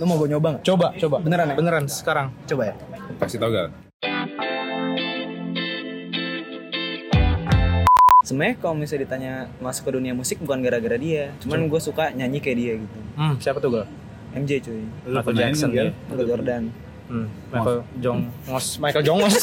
Lu mau gue nyoba nggak? Coba, coba. Beneran ya? Beneran sekarang. Coba ya. Kasih tau gak? Sebenarnya kalau misalnya ditanya masuk ke dunia musik bukan gara-gara dia. Cuman gue suka nyanyi kayak dia gitu. Hmm, siapa tuh gal? MJ cuy. Michael pernah Jackson ini, Gal? ya. Michael Jordan. Hmm, Michael Jongos. Michael Jongos.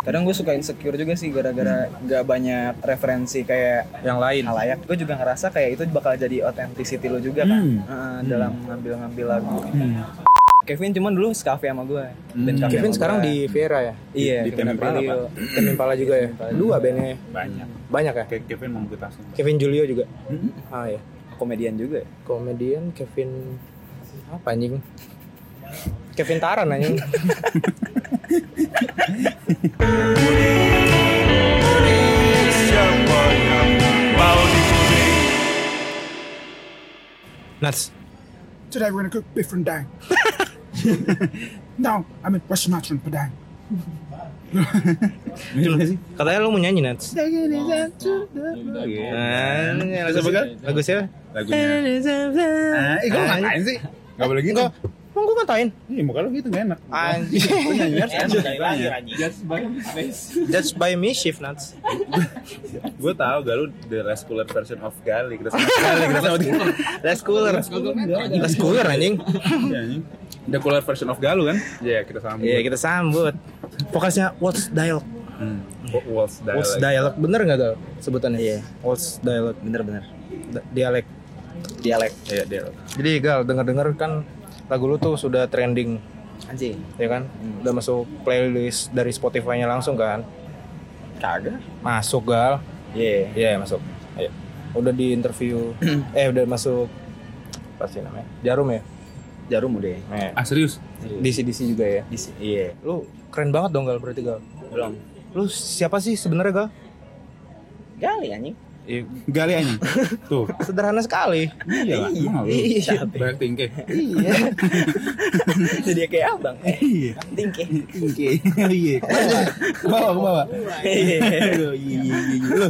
Kadang gue suka insecure juga sih gara-gara gak banyak referensi kayak yang lain. halayak. Gue juga ngerasa kayak itu bakal jadi authenticity lu juga kan. Hmm. Heeh, dalam ngambil-ngambil lagu. Hmm. Kevin cuman dulu sekafe sama gue. Kevin sekarang di Vera ya. Hmm. Iya, di Kevin Pemimpin apa? Aprilio. Kevin Pala juga ya. Dua bandnya ya? Banyak. banyak ya. Kayak Kevin mau kita langsung. Kevin Julio juga. Ah ya. Komedian juga ya. Komedian Kevin apa anjing? Kevin Taran anjing. Nats, Today we're gonna cook beef rendang. no, I mean West Sumatran padang. katanya lu mau nyanyi Nats. Ah, lagu siapa? Lagu siapa? Lagunya. Eh, eh, gua ngapain sih? Gak boleh gitu. Mau gue ngatain? Ih, muka lu gitu gak enak. Anjing. That's by me shift Nats. Gue tau gak lu the last cooler version of Gali. Kita sama Gali. Kita sama Gali. Let's cooler. Let's cooler anjing. Iya, anjing. The cooler version of Galu kan? Iya, kita sama. Iya, kita sambut. Fokusnya what's dialog. Hmm. Waltz dialect. What's dialog bener nggak tuh sebutannya? Iya. What's dialog Bener-bener. Da- dialek. Dialek. Iya, dialog. Jadi gal denger-denger kan lagu lu tuh sudah trending, Anjing. ya kan? Udah masuk playlist dari Spotify-nya langsung kan? Kagak. Masuk gal. Iya. Iya, masuk. Ayo. Udah di interview eh udah masuk pasti namanya jarum ya Jarum udah. eh, ya? Ah, serius? di CDC juga ya Di si- Iya. lu keren banget dong gal berarti gal Belum. lu siapa sih sebenarnya gal Gali anjing. Iya. Gali anjing. Tuh. sederhana sekali Iya lah. Emang lu. Iya. Banyak tingke. Jadi kayak abang. Iya. Tingke. Tingke. Iya. Ke bawah, ke bawah, ke bawah. Aduh, Iya, iya, iya, iya. Lu.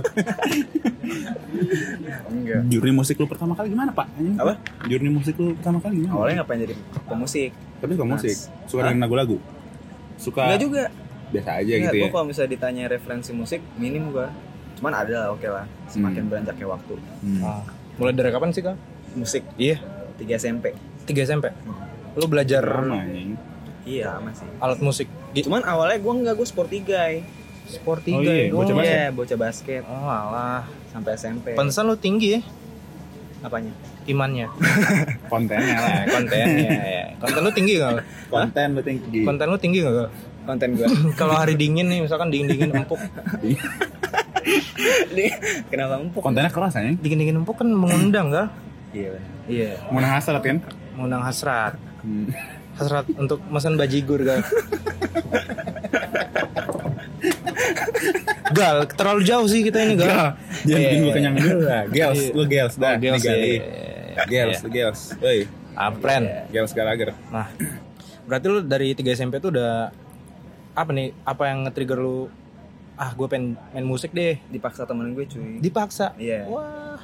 Enggak. Jurni musik lu pertama kali gimana, Pak? Anjing. Apa? Jurni musik lu pertama kali gimana? Awalnya ngapain jadi pemusik? Tapi suka musik. Suka dengan lagu-lagu. Suka Enggak juga. biasa aja Enggak, gitu ya. gua kalau misalnya ditanya referensi musik, minim gua. Cuman ada lah, oke lah. Semakin beranjaknya waktu. Hmm. Ah, mulai dari kapan sih gal Musik iya 3 SMP. 3 SMP lu belajar Lama, anjing. Iya, lama sih. alat musik di Cuman awalnya gua enggak, gua sportigai. sport Oh iya, bocah basket. Iya, bocah basket oh alah sampai SMP. pantesan lu tinggi ya Apanya? imannya Kontennya lah. Nah, kontennya Iya. ya. konten lu tinggi gak Gal? Konten lu tinggi. konten lu gitu. tinggi gak Gal? Konten gua. kalau hari dingin nih misalkan dingin dingin empuk Ini Kenapa empuk? Kontennya keras anjing. dingin dingin empuk kan mengundang gal Iya. bener. iya Mau nahasa kan? mengundang hasrat hasrat untuk pesan bajigur gal gal terlalu jauh sih kita ini gal Dia Iya, bikin gue iya. kenyang dulu lah. Gels, lu gels Oh, dah. gels, Ini gali. iya, iya. Gels, lu gels. Woi, apren gels galager. Nah, berarti lu dari 3 SMP tuh udah apa nih? Apa yang nge-trigger lu? Ah, gue pengen main musik deh. Dipaksa temen gue cuy. Dipaksa. Iya. Wah.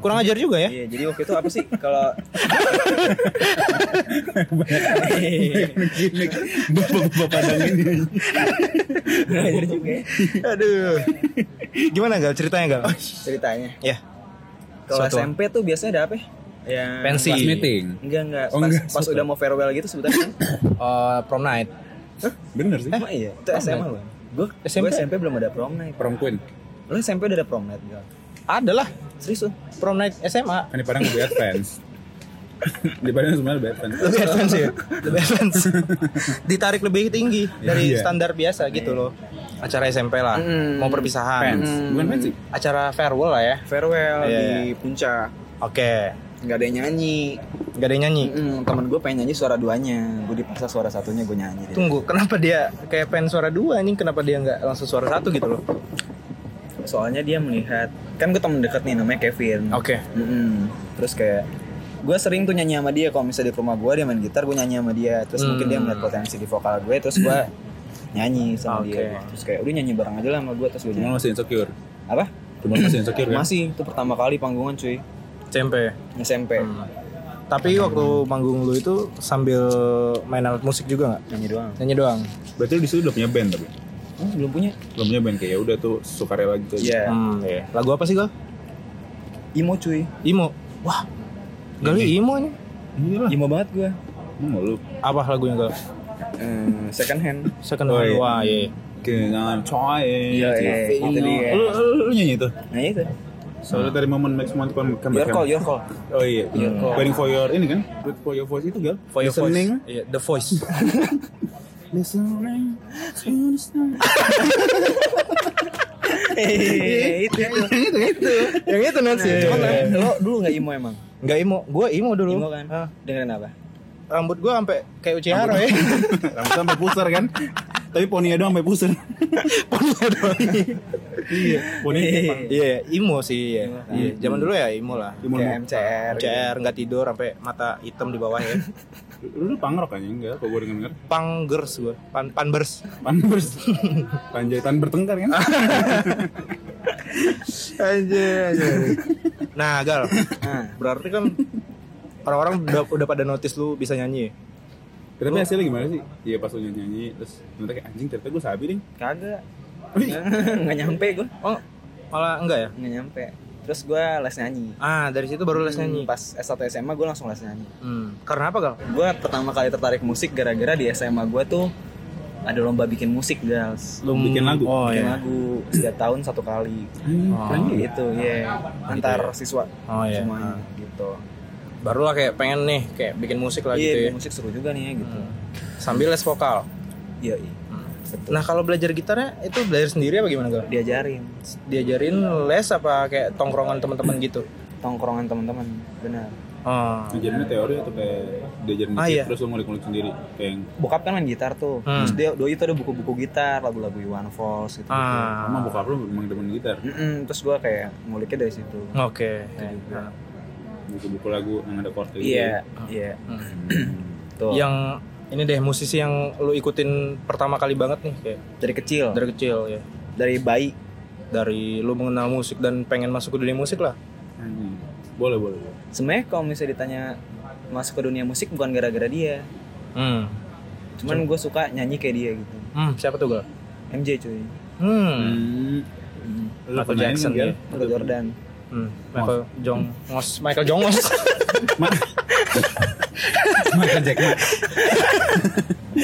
Kurang ajar juga ya? Iya, jadi waktu itu apa sih kalau Gimik. Bapak-bapak padang ini. belajar juga ya Aduh. Gimana gal ceritanya gal? Oh, iya. ceritanya. ya. Kalau Suatu- SMP tuh biasanya ada apa? Ya Pensi. Kelas meeting. Enggak enggak. Oh, pas, enggak. pas udah mau farewell gitu sebetulnya. Eh, prom night. Bener sih. Emang iya. Itu SMA loh. Gue SMP. SMP? SMP belum ada prom night. Prom Queen. Lo SMP udah ada prom night enggak? Adalah Serius lo? prom night SMA. Kan di Padang lebih advance. di Padang sebenarnya lebih advance. Lebih advance ya? Lebih advance. Ditarik lebih tinggi dari Iya. standar biasa gitu loh. Acara SMP lah. Mm. Mau perpisahan. Fans. Hmm. Bukan fans sih. Acara farewell lah ya. Farewell Iya, di puncak. Oke. Enggak ada yang nyanyi. Gak ada yang nyanyi. Mm, temen gue pengen nyanyi suara duanya. Gue dipaksa suara satunya gue nyanyi. Deh. Tunggu, kenapa dia kayak pengen suara dua nih? Kenapa dia nggak langsung suara satu gitu loh? Soalnya dia melihat kan gue temen deket nih namanya Kevin. Oke. Mm-mm. Terus kayak gue sering tuh nyanyi sama dia kalau misalnya di rumah gue dia main gitar gue nyanyi sama dia terus mungkin Hmm. dia melihat potensi di vokal gue terus gue nyanyi sama Oke. dia terus kayak udah nyanyi bareng aja lah sama gue terus gue Cuma nyanyi masih insecure. apa Cuma masih insecure kan? masih itu pertama kali panggungan cuy SMP. SMP Hmm. Tapi waktu manggung lu itu sambil main alat musik juga nggak? nyanyi doang Nyanyi doang. Berarti lu di situ udah punya band tapi oh, belum punya belum punya band kayak ya udah tuh sukarela gitu. aja. iya Hmm. Lagu apa sih gue? imo cuy Imo. Wah. Gali Imo ini. Iya lah. imo banget gue Emang lu Apa lagunya gal? Eh, second hand Second Oh, Hand. iya. Wah, iya. kenal coy. Gitu. Iya, iya, itu dia. Lu lu- lu nyanyi tuh. nah itu Solitary moment makes one come come your back. call your call kan Oh iya. Your call. Waiting for your ini kan? Wait for your voice itu gal. For your voice. Listening. Iya, the voice. Listening. Eh, itu itu Yang itu nanti. cuman em, lo dulu nggak imo emang Enggak Iya, Imo, gue Imo dulu. imo kan Ah, dengerin apa Rambut gue sampai kayak Uci Haro ya. Rambut sampai pusar kan? Tapi poninya doang sampai pusar. Pokoknya doang. Iya. Poninya Jepang. Iya, Imo sih ya. Iya, zaman dulu ya Imo lah. Imo. kayak MCR CR nggak tidur sampai mata hitam di bawah ya. Lu lu pangrok kan enggak? Kok gue denger denger. Panggers gue, pan panbers. Panbers. Panjaitan bertengkar kan? aja aja nah gal berarti kan orang-orang udah, udah pada notice lu bisa nyanyi Oh. Tapi hasilnya gimana sih? Iya pas lu nyanyi, nyanyi terus ternyata kayak anjing ternyata gue sabi nih. kagak nggak nyampe gue oh malah enggak ya nggak nyampe terus gue les nyanyi ah dari situ baru les nyanyi Hmm, pas S1 SMA gue langsung les nyanyi Hmm, karena apa gal gue pertama kali tertarik musik gara-gara di SMA gue tuh ada lomba bikin musik guys Lu bikin lagu. Hmm, oh bikin iya lagu setiap tahun satu kali Oh. kan gitu ya antar siswa oh iya semuanya gitu barulah kayak pengen nih kayak bikin musik lah iya gitu ya musik seru juga nih gitu Hmm. sambil les vokal iya iya Betul. nah kalau belajar gitarnya itu belajar sendiri apa gimana gal diajarin diajarin les apa kayak tongkrongan teman-teman gitu tongkrongan teman-teman benar oh Ngajarinnya teori atau kayak diajarin Ah, dikit, iya. terus lu ngulik-ngulik sendiri kayak yang bokap kan main gitar tuh Hmm. terus dia doi itu ada buku-buku gitar lagu-lagu Iwan Fals gitu, sama ah bokap lu memang demen gitar terus gue kayak nguliknya dari situ oke juga. buku-buku lagu yang ada chord gitu Hmm. iya iya Hmm. tuh yang ini deh musisi yang lu ikutin pertama kali banget nih kayak dari kecil dari kecil ya dari bayi dari lu mengenal musik dan pengen masuk ke dunia musik lah Anjing. boleh boleh boleh. sebenarnya kalau misalnya ditanya masuk ke dunia musik bukan gara-gara dia hmm, cuman gue suka nyanyi kayak dia gitu hmm siapa tuh gal MJ cuy hmm, Hmm. Lu Michael pernah ini Jackson, nggak? ya. Michael Jordan hmm, Michael Jongos Michael Jongos Michael Jackson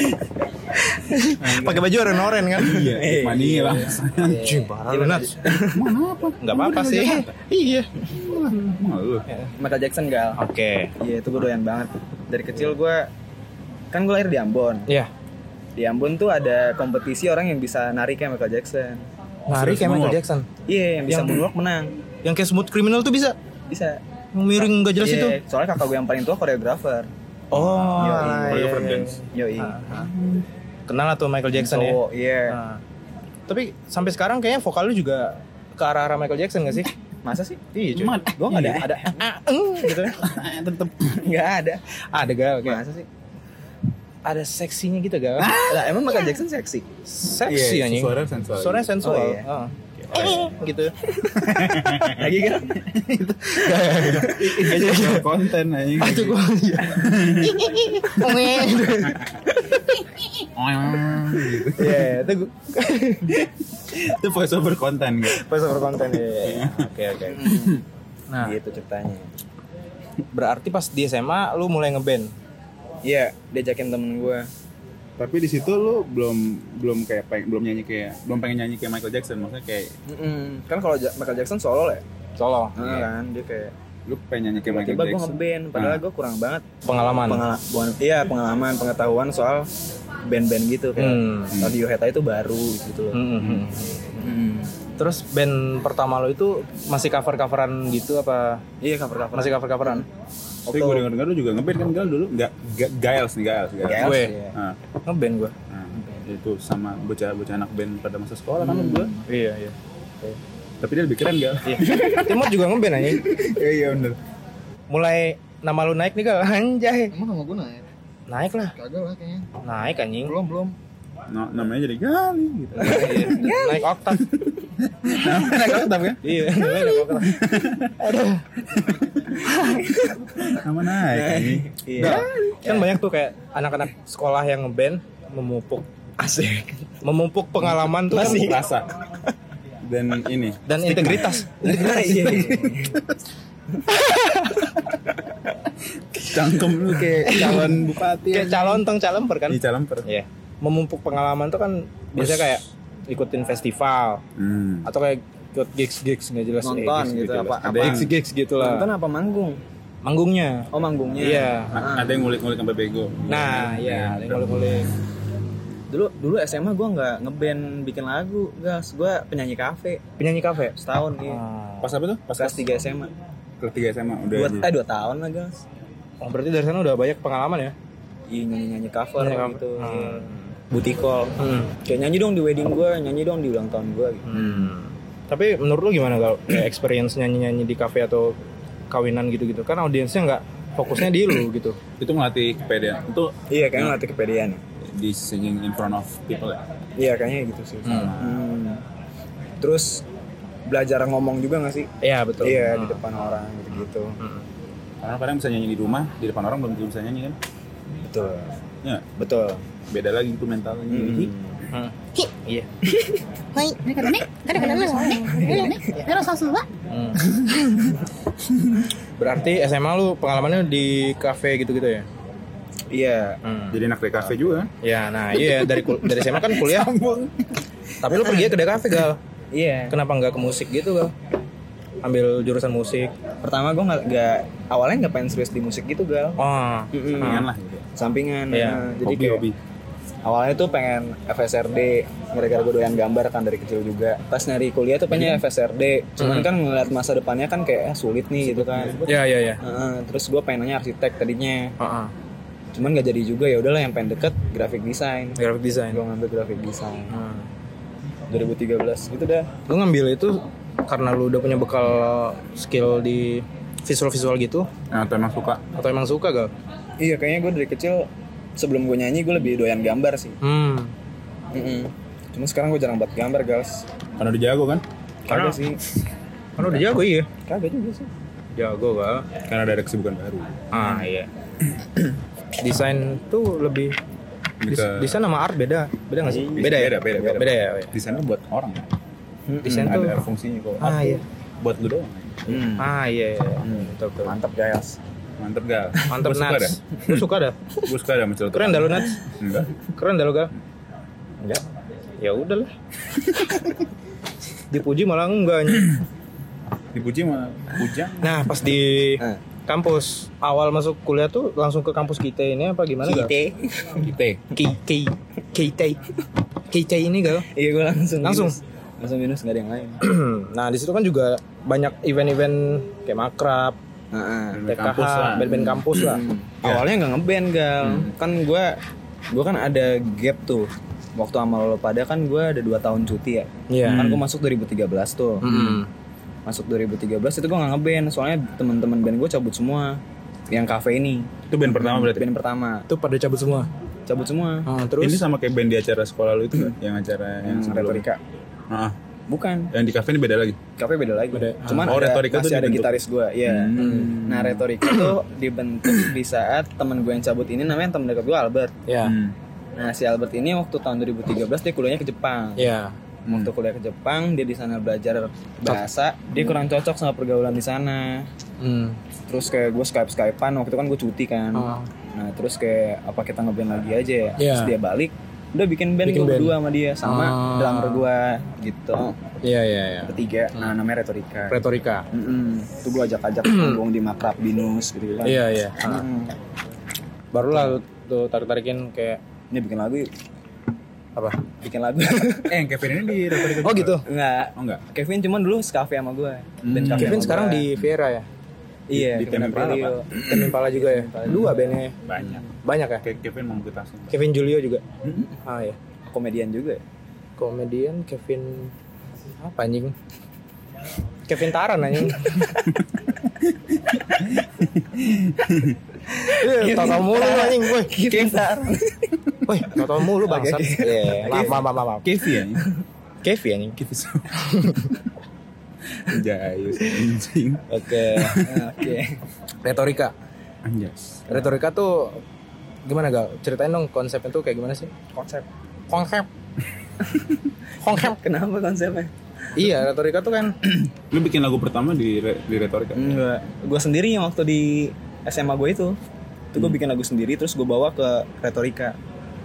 pakai baju oren oren kan iya mania lah anjing parah lu Nats. iya. nggak apa apa sih iya Emang lu Michael Jackson gal oke iya itu gue doyan banget dari kecil gue kan gue lahir di Ambon ya di Ambon tuh ada kompetisi orang yang bisa narik kayak Michael Jackson lari kayak Michael moonwalk. Jackson iya yang bisa Yang- moonwalk menang yang kayak smooth criminal tuh bisa bisa Yang miring nggak jelas Iya, itu soalnya kakak gue yang paling tua koreografer oh Iya, iya, Michael iya, iya. Dance yoi kenal lah tuh Michael Jackson ya cowok iya Nah, tapi sampai sekarang kayaknya vokal lu juga ke arah arah Michael Jackson gak sih? masa sih Iya cuy. Mat. gue nggak ada ada Ah, eng, gitu. tetep nggak ada Ada gal kayak. masa sih Ada seksinya gitu gal. lah emang Michael Jackson seksi Seksi Iya, anjing. suara sensual. Suaranya sensual. Oh, iya. Ah. Eh, gitu. lagi kan konten anjing Itu gua. Ongeng, gitu. gitu. Iya, itu gua. itu voice over konten gitu Pas over konten ya. Oke, oke. Nah, gitu ceritanya berarti pas di SMA lu mulai ngeband. iya diajakin temen gue tapi di situ lu belum belum kayak peng- belum nyanyi kayak belum pengen nyanyi kayak Michael Jackson maksudnya kayak Mm-mm. kan kalau Ja- Michael Jackson solo ya Solo. Nah, kan dia kayak lu pengen nyanyi kayak Michael tiba gue Jackson ngeband padahal gue kurang banget Ah. Pengalaman. pengalaman iya pengalaman pengetahuan soal band-band gitu kayak Hmm. Radiohead aja itu baru gitu loh Mm, mm, mm. Mm. Terus band pertama lo itu masih cover-coveran gitu apa? iya cover cover Masih cover-coveran? tapi gue denger denger lu juga ngeband kan Gal dulu nggak Ga- Giles nih Giles Giles Giles, Gue. iya. Nah, Ngeband gue. nah, itu sama bocah-bocah anak band pada masa sekolah kan lu berdua. Iya, iya. tapi dia lebih keren Gal Timur juga ngeband aja. iya iya bener Mulai nama lu naik nih kalau anjay. Emang nama gue naik? Naik lah. Kagak lah kayaknya Naik anjing. Belum, belum no, Nah, namanya jadi Gali gitu. Iya, naik oktav namanya naik oktav ya? kan? iya namanya naik oktav Nama naik. ini. Iya. kan banyak tuh kayak anak-anak sekolah yang ngeband memupuk Asik. memupuk pengalaman tuh kan Masih beras. rasa. Dan ini. dan integritas Iya. Cangkem lu kayak calon bupati. Iya, kayak calon tong calemper kan Di Calemper. Iya. Memupuk pengalaman tuh kan biasanya kayak ikutin festival Hmm. atau kayak ikut gigs-gigs nggak jelas Nonton gigs gitu, apa- lah. apa? gigs-gigs gitu lah. Nonton apa manggung? Manggungnya. Oh manggungnya. Iya. A- Nah, Ada yang ngulik-ngulik sampai bego. Nah, iya, ada yang ngulik-ngulik. Dulu dulu SMA gua nggak ngeband bikin lagu, gas. Gua penyanyi kafe Penyanyi kafe. setahun gitu. Ah. Pas apa tuh? Pas Kelas 3 SMA. kelas 3 SMA udah. Dua, aja. eh dua tahun lah gas. Oh, berarti dari sana udah banyak pengalaman ya? Iya nyanyi nyanyi cover Nyanyi cover. gitu. Hmm. iya. Butikol. Hmm. Kayak nyanyi dong di wedding gua, nyanyi dong di ulang tahun gua gitu. Hmm. Tapi menurut lu gimana kalau kayak experience nyanyi-nyanyi di kafe atau kawinan gitu-gitu? Kan audiensnya nggak fokusnya di lu gitu. Itu ngelatih kepedean. Itu Iya kayaknya ngelatih kepedean. ya. di singing in front of people ya. Iya kayaknya gitu sih. Hmm. Hmm. Terus belajar ngomong juga nggak sih? Iya, betul. Iya di Hmm. depan orang gitu. Hmm. Orang kadang bisa nyanyi di rumah, di depan orang belum tentu bisa nyanyi kan. Betul. Ya, Betul. beda lagi itu mentalnya. Jadi, Hmm. Iya. はい。だからね、だからね、ね、ロソスは Hmm. Berarti SMA lu pengalamannya di kafe gitu-gitu ya? Iya. Hmm. jadi anak dari kafe juga. kan? Ya, nah iya dari kul- dari SMA kan kuliah. Tapi lu pergi ke kafe gal. Iya. Kenapa nggak ke musik gitu gal? Ambil jurusan musik. Pertama gue nggak nggak awalnya nggak pengen serius di musik gitu gal. Oh. Mm-mm. Pengen lah gitu. Sampingan. Iya. nah, jadi Hobi, kayak hobi. awalnya tuh pengen FSRD gara-gara gue doyan gambar kan dari kecil juga. Pas nyari kuliah tuh pengennya FSRD. Cuman kan ngeliat masa depannya kan kayak ah, sulit nih gitu kan. Ya ya ya. Heeh, terus gue pengennya arsitek tadinya. Ah, ah. Cuman nggak jadi juga ya udahlah yang pengen deket graphic design. Graphic design. Gue ngambil graphic design. Hmm. 2013 gitu dah. Lu ngambil itu karena lu udah punya bekal skill di visual-visual gitu Nah, atau emang suka. atau emang suka gal? Iya kayaknya gue dari kecil sebelum gue nyanyi gue lebih doyan gambar sih. Hmm. Mm-mm. Cuma sekarang gue jarang banget gambar guys. Karena udah jago kan? Kagak sih. Kan udah jago iya. Kagak juga sih. Jago gal. Karena ada kesibukan baru. Ah iya. desain tuh lebih Lebih Des- ke- desain sama art beda, beda nggak sih? Beda, Beda ya? beda, beda, beda. ya. oh iya. Desainnya buat orang. Desain tuh Ada Hmm. fungsinya kok. Ah iya. Buat lu doang. Hmm. Ah iya. iya. Betul, betul. Mantap guys. Mantep gal. Mantap Gua Hmm. suka dah. Nats. Lu suka dah. Gue suka dah mencelotok. Keren dah lu Nats. Enggak. Keren dah lu Gal. Enggak. Ya udah lah. Dipuji malah enggak. anjing. Dipuji mah bujang. Nah, pas di Eh. kampus awal masuk kuliah tuh langsung ke kampus kita ini apa gimana? Gal? Kita. Ki- ki kita kita ini gal. Iya gue langsung. Langsung? minus. Langsung minus nggak ada yang lain. nah, di situ kan juga banyak event-event kayak makrab, Heeh. Band-band TKH, kampus lah. band-band kampus lah. Hmm. Awalnya nggak ngeband gal. Kan gue gue kan ada gap tuh. Waktu sama lo pada kan gue ada 2 tahun cuti ya. Iya. Hmm. Kan gue masuk 2013 tuh. Hmm. Mm-mm. Masuk 2013 itu gue nggak ngeband soalnya teman-teman band gue cabut semua. Yang kafe ini Itu band pertama berarti. band pertama Itu pada cabut semua. cabut semua. Ah, Ini terus sama kayak band di acara sekolah lu itu nggak? Yang acara yang Yang sebelum. retorika. Ah, Bukan. yang di kafe ini beda lagi. Kafe beda lagi. Cuman Oh, ada, retorika tuh masih ada dibentuk. gitaris gue, ya. Hmm. Nah retorika tuh dibentuk di saat temen gue yang cabut ini namanya temen dekat gue Albert. Ah. ya. Hmm. Nah si Albert ini waktu tahun 2013 dia kuliahnya ke Jepang. Ya. Waktu kuliah ke Jepang dia di sana belajar bahasa. Dia kurang cocok sama pergaulan di sana. Hmm. Terus kayak gue skype skypean waktu itu kan gue cuti kan. Nah terus kayak apa kita ngeband lagi aja Oh. ya. Iya. Terus dia balik udah bikin band Bikin gue band. berdua sama dia sama Ah. drummer gue gitu Iya, iya, iya. bertiga nah namanya retorika Retorika. Mm-mm. Itu gue ajak-ajak manggung di Makrab Binus gitu kan. Iya, iya. Ah. Mm. Barulah lu tuh tarik-tarikin kayak Ini bikin lagu yuk. apa? Bikin lagu. Eh, yang Kevin ini di retorika. Oh, gitu. Enggak. Oh enggak. Kevin cuman dulu sekafe sama gue. Dan kafe Kevin sama sekarang gua. di Viera ya. iya, di Temen Kevin Pala, Aprilio. Kevin Pala juga ya. Iya. Dua bandnya ya. Banyak. Hmm. Banyak ya. Kayak Kevin mau kita sih. Kevin Julio juga. Ah ya. Komedian juga. ya? Komedian Kevin apa anjing? Kevin Taran anjing. Iya, tau mulu lu, anjing gue. Kevin Taran. Woi, tau mulu bangsat. Iya, maaf, maaf, maaf, maaf. Kevi ya? Kevi anjing. Kevi. Jayus anjing. Oke. Oke. Retorika. Anjas. Retorika tuh gimana gal? Ceritain dong konsepnya tuh kayak gimana sih? Konsep. Konsep. Konsep. Kenapa konsepnya? Iya, retorika tuh kan Lu bikin lagu pertama di re- di kan? retorika. Enggak. Gue sendiri yang waktu di SMA gue itu, itu gue bikin lagu sendiri terus gue bawa ke retorika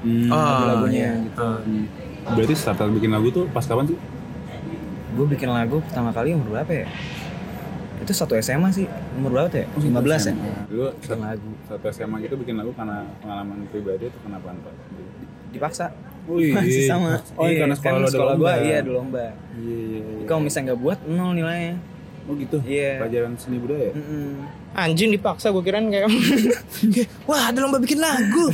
Hmm. Ah, iya. lagunya. Hmm. Berarti starter bikin lagu tuh pas kapan sih? Gue bikin lagu pertama kali umur berapa ya? Itu satu SMA sih, umur berapa tuh Oh, ya? 15 ya? Lu Bikin lagu. Iya. satu SMA gitu bikin lagu karena pengalaman pribadi atau kenapa entar? Dipaksa. Wih, Masih sama. Oh, iya, karena sekolah lu ada gue lomba. iya ada lomba. Iya, iya, iya. Kalau misalnya nggak buat nol nilainya. Oh gitu. Iya. Mm, Pelajaran seni budaya. Mm-mm. anjing dipaksa gue kirain kayak wah ada lomba bikin lagu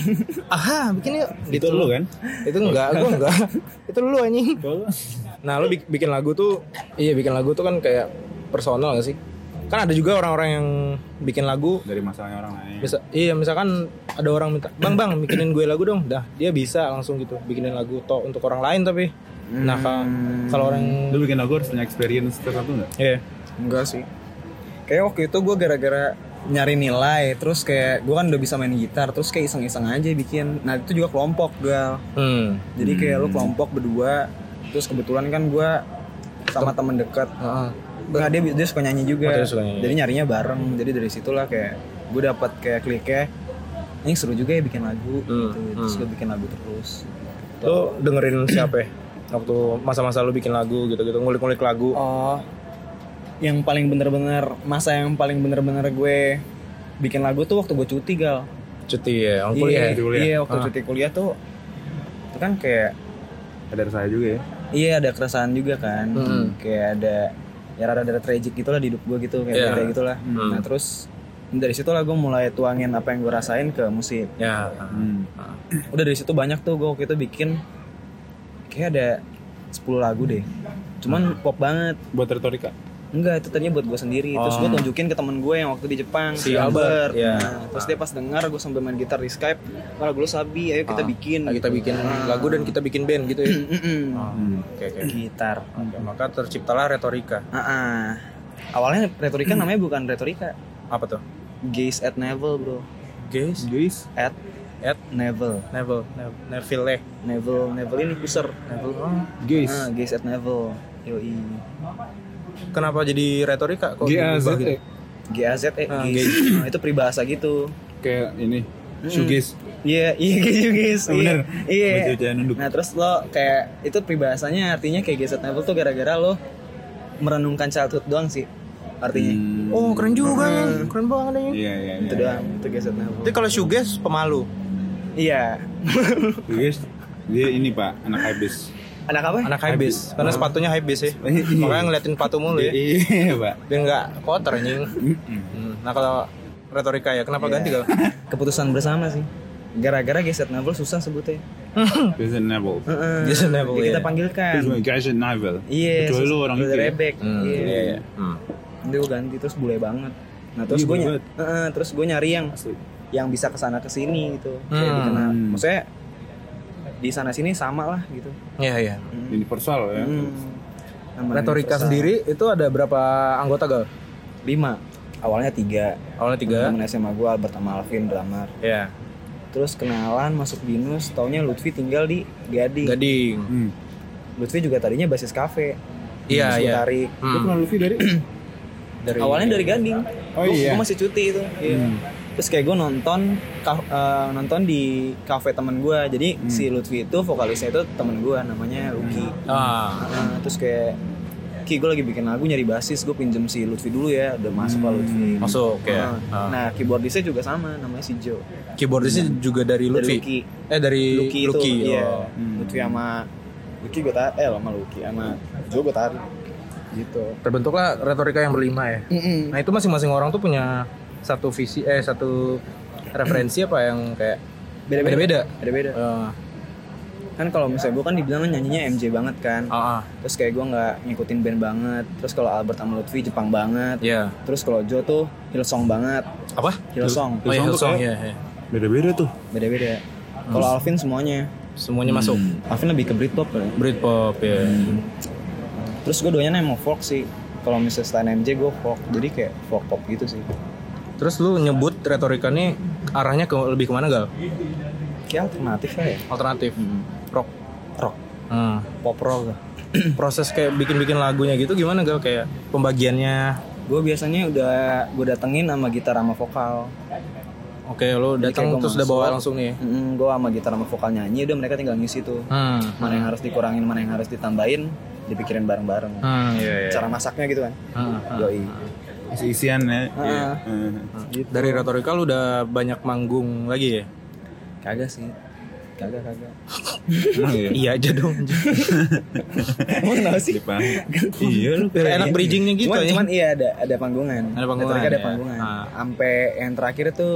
aha bikin yuk gitu. Gitu. Itu lu kan? itu enggak gue enggak itu lu anjing Kalau nah lu bik- bikin lagu tuh iya bikin lagu tuh kan kayak personal gak sih kan ada juga orang-orang yang bikin lagu dari masalahnya orang lain. bisa iya misalkan ada orang minta bang bang bikinin gue lagu dong dah dia bisa langsung gitu bikinin lagu to untuk orang lain tapi nah kalau- kalau orang Lu bikin lagu harus punya experience tertentu nggak? iya Enggak sih. Kayak waktu itu gue gara-gara nyari nilai, terus kayak gue kan udah bisa main gitar, terus kayak iseng-iseng aja bikin. Nah itu juga kelompok gal. hmm Jadi kayak lu kelompok berdua, terus kebetulan kan gue sama temen dekat. Ah, Nah, dia dia suka nyanyi juga. Oh, dia suka nyanyi. Jadi nyarinya bareng. Jadi dari situlah kayak gue dapat kayak kliknya. Ini seru juga ya bikin lagu. Hmm, gitu. Terus gue bikin lagu terus. lu dengerin siapa ya waktu masa-masa lu bikin lagu gitu-gitu ngulik-ngulik lagu Oh, yang paling bener-bener masa yang paling bener-bener gue bikin lagu tuh waktu gue cuti gal. cuti ya orang kuliah Iya, ya? kuliah. iya waktu cuti kuliah tuh itu kan kayak Ada saya juga ya. iya ada keresahan juga kan. Mm. Kayak ada ya rada-rada tragic gitu lah di hidup gue gitu kayak Iya. kayak gitu lah. Nah, terus dari situ lah gue mulai tuangin apa yang gue rasain ke musik. ya Hmm. Udah dari situ banyak tuh gue waktu itu bikin kayak ada 10 lagu deh. Cuman pop banget. Buat retorika. Enggak, itu tadinya buat gue sendiri. Terus gue tunjukin ke temen gue yang waktu di Jepang, Oh. si Albert. Iya. Nah, terus dia pas dengar gue sambil main gitar di Skype, "Wah, lagu lu sabi, ayo kita bikin." Nah, kita gitu. bikin lagu dan kita bikin band gitu ya Mm-mm. Hmm, oke oke gitar. Oke, maka terciptalah retorika Ah, ah. Awalnya retorika namanya bukan retorika. apa tuh Gaze at Neville, Bro. guys Guys, At At? Neville. Neville Neville Neville eh. Neville, Neville ini user. Neville oh. guys. Ah, gaze at Neville. Yoi. kenapa jadi retorika kok GAZ berubah gitu? eh, GAZ eh Ah, gaze. Ah, itu peribahasa gitu. kayak ini. Shugis. Iya, iya gitu guys. Iya. Iya. Bacaan nunduk. Nah, terus lo kayak itu peribahasanya artinya kayak Gaze at Neville tuh gara-gara lo merenungkan childhood doang sih artinya. oh keren juga ya Hmm. keren banget ya Hmm. Iya, iya, iya. Itu doang, itu Gaze at Neville. tapi kalau shoegaze pemalu Iya. Shugis. Dia ini pak, anak habis. Anak apa? anak high bass karena sepatunya high bass ya makanya ngeliatin sepatu Oh, mulu ya Iya pak. biar nggak kotor anjing Hmm, nah kalau retorika ya Iya. kenapa ganti kalau Keputusan bersama sih. Gara-gara Gaze at Neville susah sebutnya. Guys and Neville. Heeh. Gaze at Neville, Jadi Kita iya. panggilkan. Terus Guys and Neville. Kan. Iya. Kecuali lu susah. orang itu Udah ya. rebek. Iya. Hmm. Nanti gue ganti terus bule banget. Nah, terus Iya, gue bule ny- banget. Heeh, terus gue nyari yang Asli. yang bisa kesana kesini gitu. Kayak Hmm. dikenal. Maksudnya di sana sini sama lah gitu. Iya iya. Universal ya. Hmm. Nama Retorika universal. sendiri itu ada berapa anggota gal? lima. Awalnya tiga. Awalnya tiga. Temen SMA gue Albert sama Alvin drummer. Ya. Terus kenalan masuk binus. Taunya Lutfi tinggal di Gading. Gading. Hmm. Lutfi juga tadinya basis kafe. Iya, Terus gua iya. Tarik. Lu kenal Luffy dari? Awalnya dari Gading. Oh, Gua- iya. Hmm. gua masih cuti itu. Iya. Terus kayak gue nonton ka- eh, nonton di kafe temen gue. Jadi Hmm. si Lutfi itu vokalisnya itu temen gue namanya Ruki. Ah. Nah, terus kayak Ki gue lagi bikin lagu nyari basis gue pinjem si Lutfi dulu ya udah masuk Hmm. lah Lutfi Masuk ya. Nah, nah keyboardisnya juga sama namanya si Jo Keyboardisnya juga dari dari Lutfi. Lucky Eh dari Lucky Lucky. oh. itu iya Hmm. Lutfi sama Lucky gue tarik eh sama Lucky sama Jo gue tarik gitu Terbentuklah retorika yang berlima ya. Hmm. Nah itu masing-masing orang tuh punya satu visi eh satu referensi apa yang kayak beda-beda. ada beda Eh, kan kalau misalnya gue kan dibilang nyanyinya MJ banget kan Ah, ah, terus kayak gue nggak ngikutin band banget terus kalau Albert sama Lutfi Jepang banget iya. terus kalau Jo tuh Hillsong banget Apa? Hillsong Oh, iya, Hillsong tuh Hillsong, kayak- iya, iya. Beda-beda tuh. beda-beda Kalau Alvin semuanya. semuanya masuk Alvin lebih ke Britpop kali ya. Britpop ya Terus gue doanya emang folk sih. Kalau misalnya selain MJ gue folk, jadi kayak folk pop gitu sih. terus lu nyebut retorika nih arahnya ke lebih kemana gal Kayak alternatif lah ya. alternatif rock Rock, Hmm. pop rock. proses kayak bikin-bikin lagunya gitu gimana gal kayak pembagiannya Gue biasanya udah gue datengin sama gitar sama vokal. oke lu Jadi kayak datang gua terus udah masuk. bawa langsung nih Mm, gue sama gitar sama vokal nyanyi, udah mereka tinggal ngisi tuh. hmm Mana yang harus dikurangin, mana yang harus ditambahin, dipikirin bareng-bareng. hmm iya iya Cara masaknya gitu kan. Hmm, hmm. Yoi. Isi-isian ya. Ah. Iya. Heeh. gitu. dari retorika lu udah banyak manggung lagi ya Kagak sih. Kagak kagak. Emang iya iya. aja dong Emang kenapa sih? Jepang. Iya lu. enak bridgingnya gitu cuman, ya cuman iya ada ada panggungan. Ada panggungan, Ketika ada ya. panggungan. Ah. Sampai yang terakhir tuh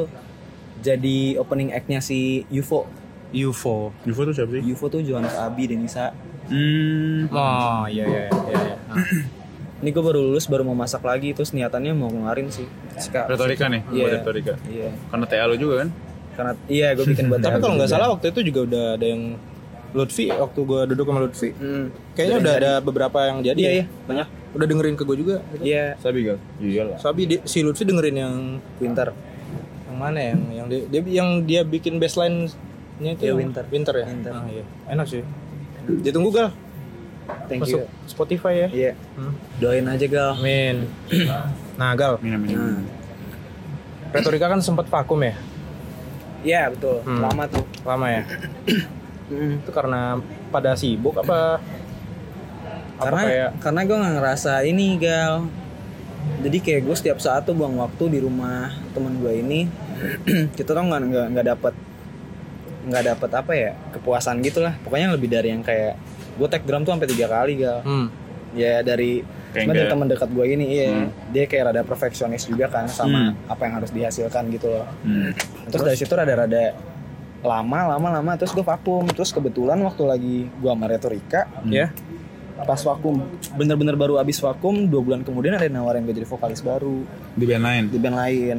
jadi opening act-nya si UFO. UFO Juvo tuh siapa sih? UFO tuh Johannes Abi Denisa. Hmm. oh iya iya iya, iya. Ini gue baru lulus baru mau masak lagi terus niatannya mau ngeluarin sih. Ska- Retorika nih, Iya. buat retorika. Iya. Karena TA lu juga kan? Karena iya gue bikin buat tapi TA kalau nggak juga. salah waktu itu juga udah ada yang Lutfi waktu gua duduk sama Lutfi Hmm. kayaknya udah ada beberapa yang jadi Iya ya. iya banyak. udah dengerin ke gua juga Iya. Sabi gal. Iyalah. Sabi di- si Lutfi dengerin yang Winter. yang mana ya? yang yang dia, dia yang dia bikin baseline nya itu Iya, yang- Winter. winter ya Winter. Ah, iya. enak sih ditunggu gal Thank masuk you. Spotify ya Iya. Hmm. Doain aja gal. amin nah gal Minum Hmm. minum. retorika kan sempat vakum ya Iya betul. Hmm. Lama tuh. lama ya Hmm. itu karena pada sibuk apa apa karena kayak karena gue nggak ngerasa ini gal jadi kayak gue setiap saat tuh buang waktu di rumah teman gue ini kita tuh nggak nggak nggak dapat nggak dapat apa ya kepuasan gitulah pokoknya lebih dari yang kayak gue tag drum tuh sampai tiga kali gal hmm, ya dari Kayak cuma dari nggak- teman dekat gue ini iya Hmm. dia kayak rada perfeksionis juga kan sama Hmm. apa yang harus dihasilkan gitu loh Hmm. terus, dari situ rada-rada lama lama lama terus gue vakum terus kebetulan waktu lagi gue sama retorika ya pas vakum bener-bener baru abis vakum dua bulan kemudian ada yang nawarin gue jadi vokalis baru Di band lain. di band lain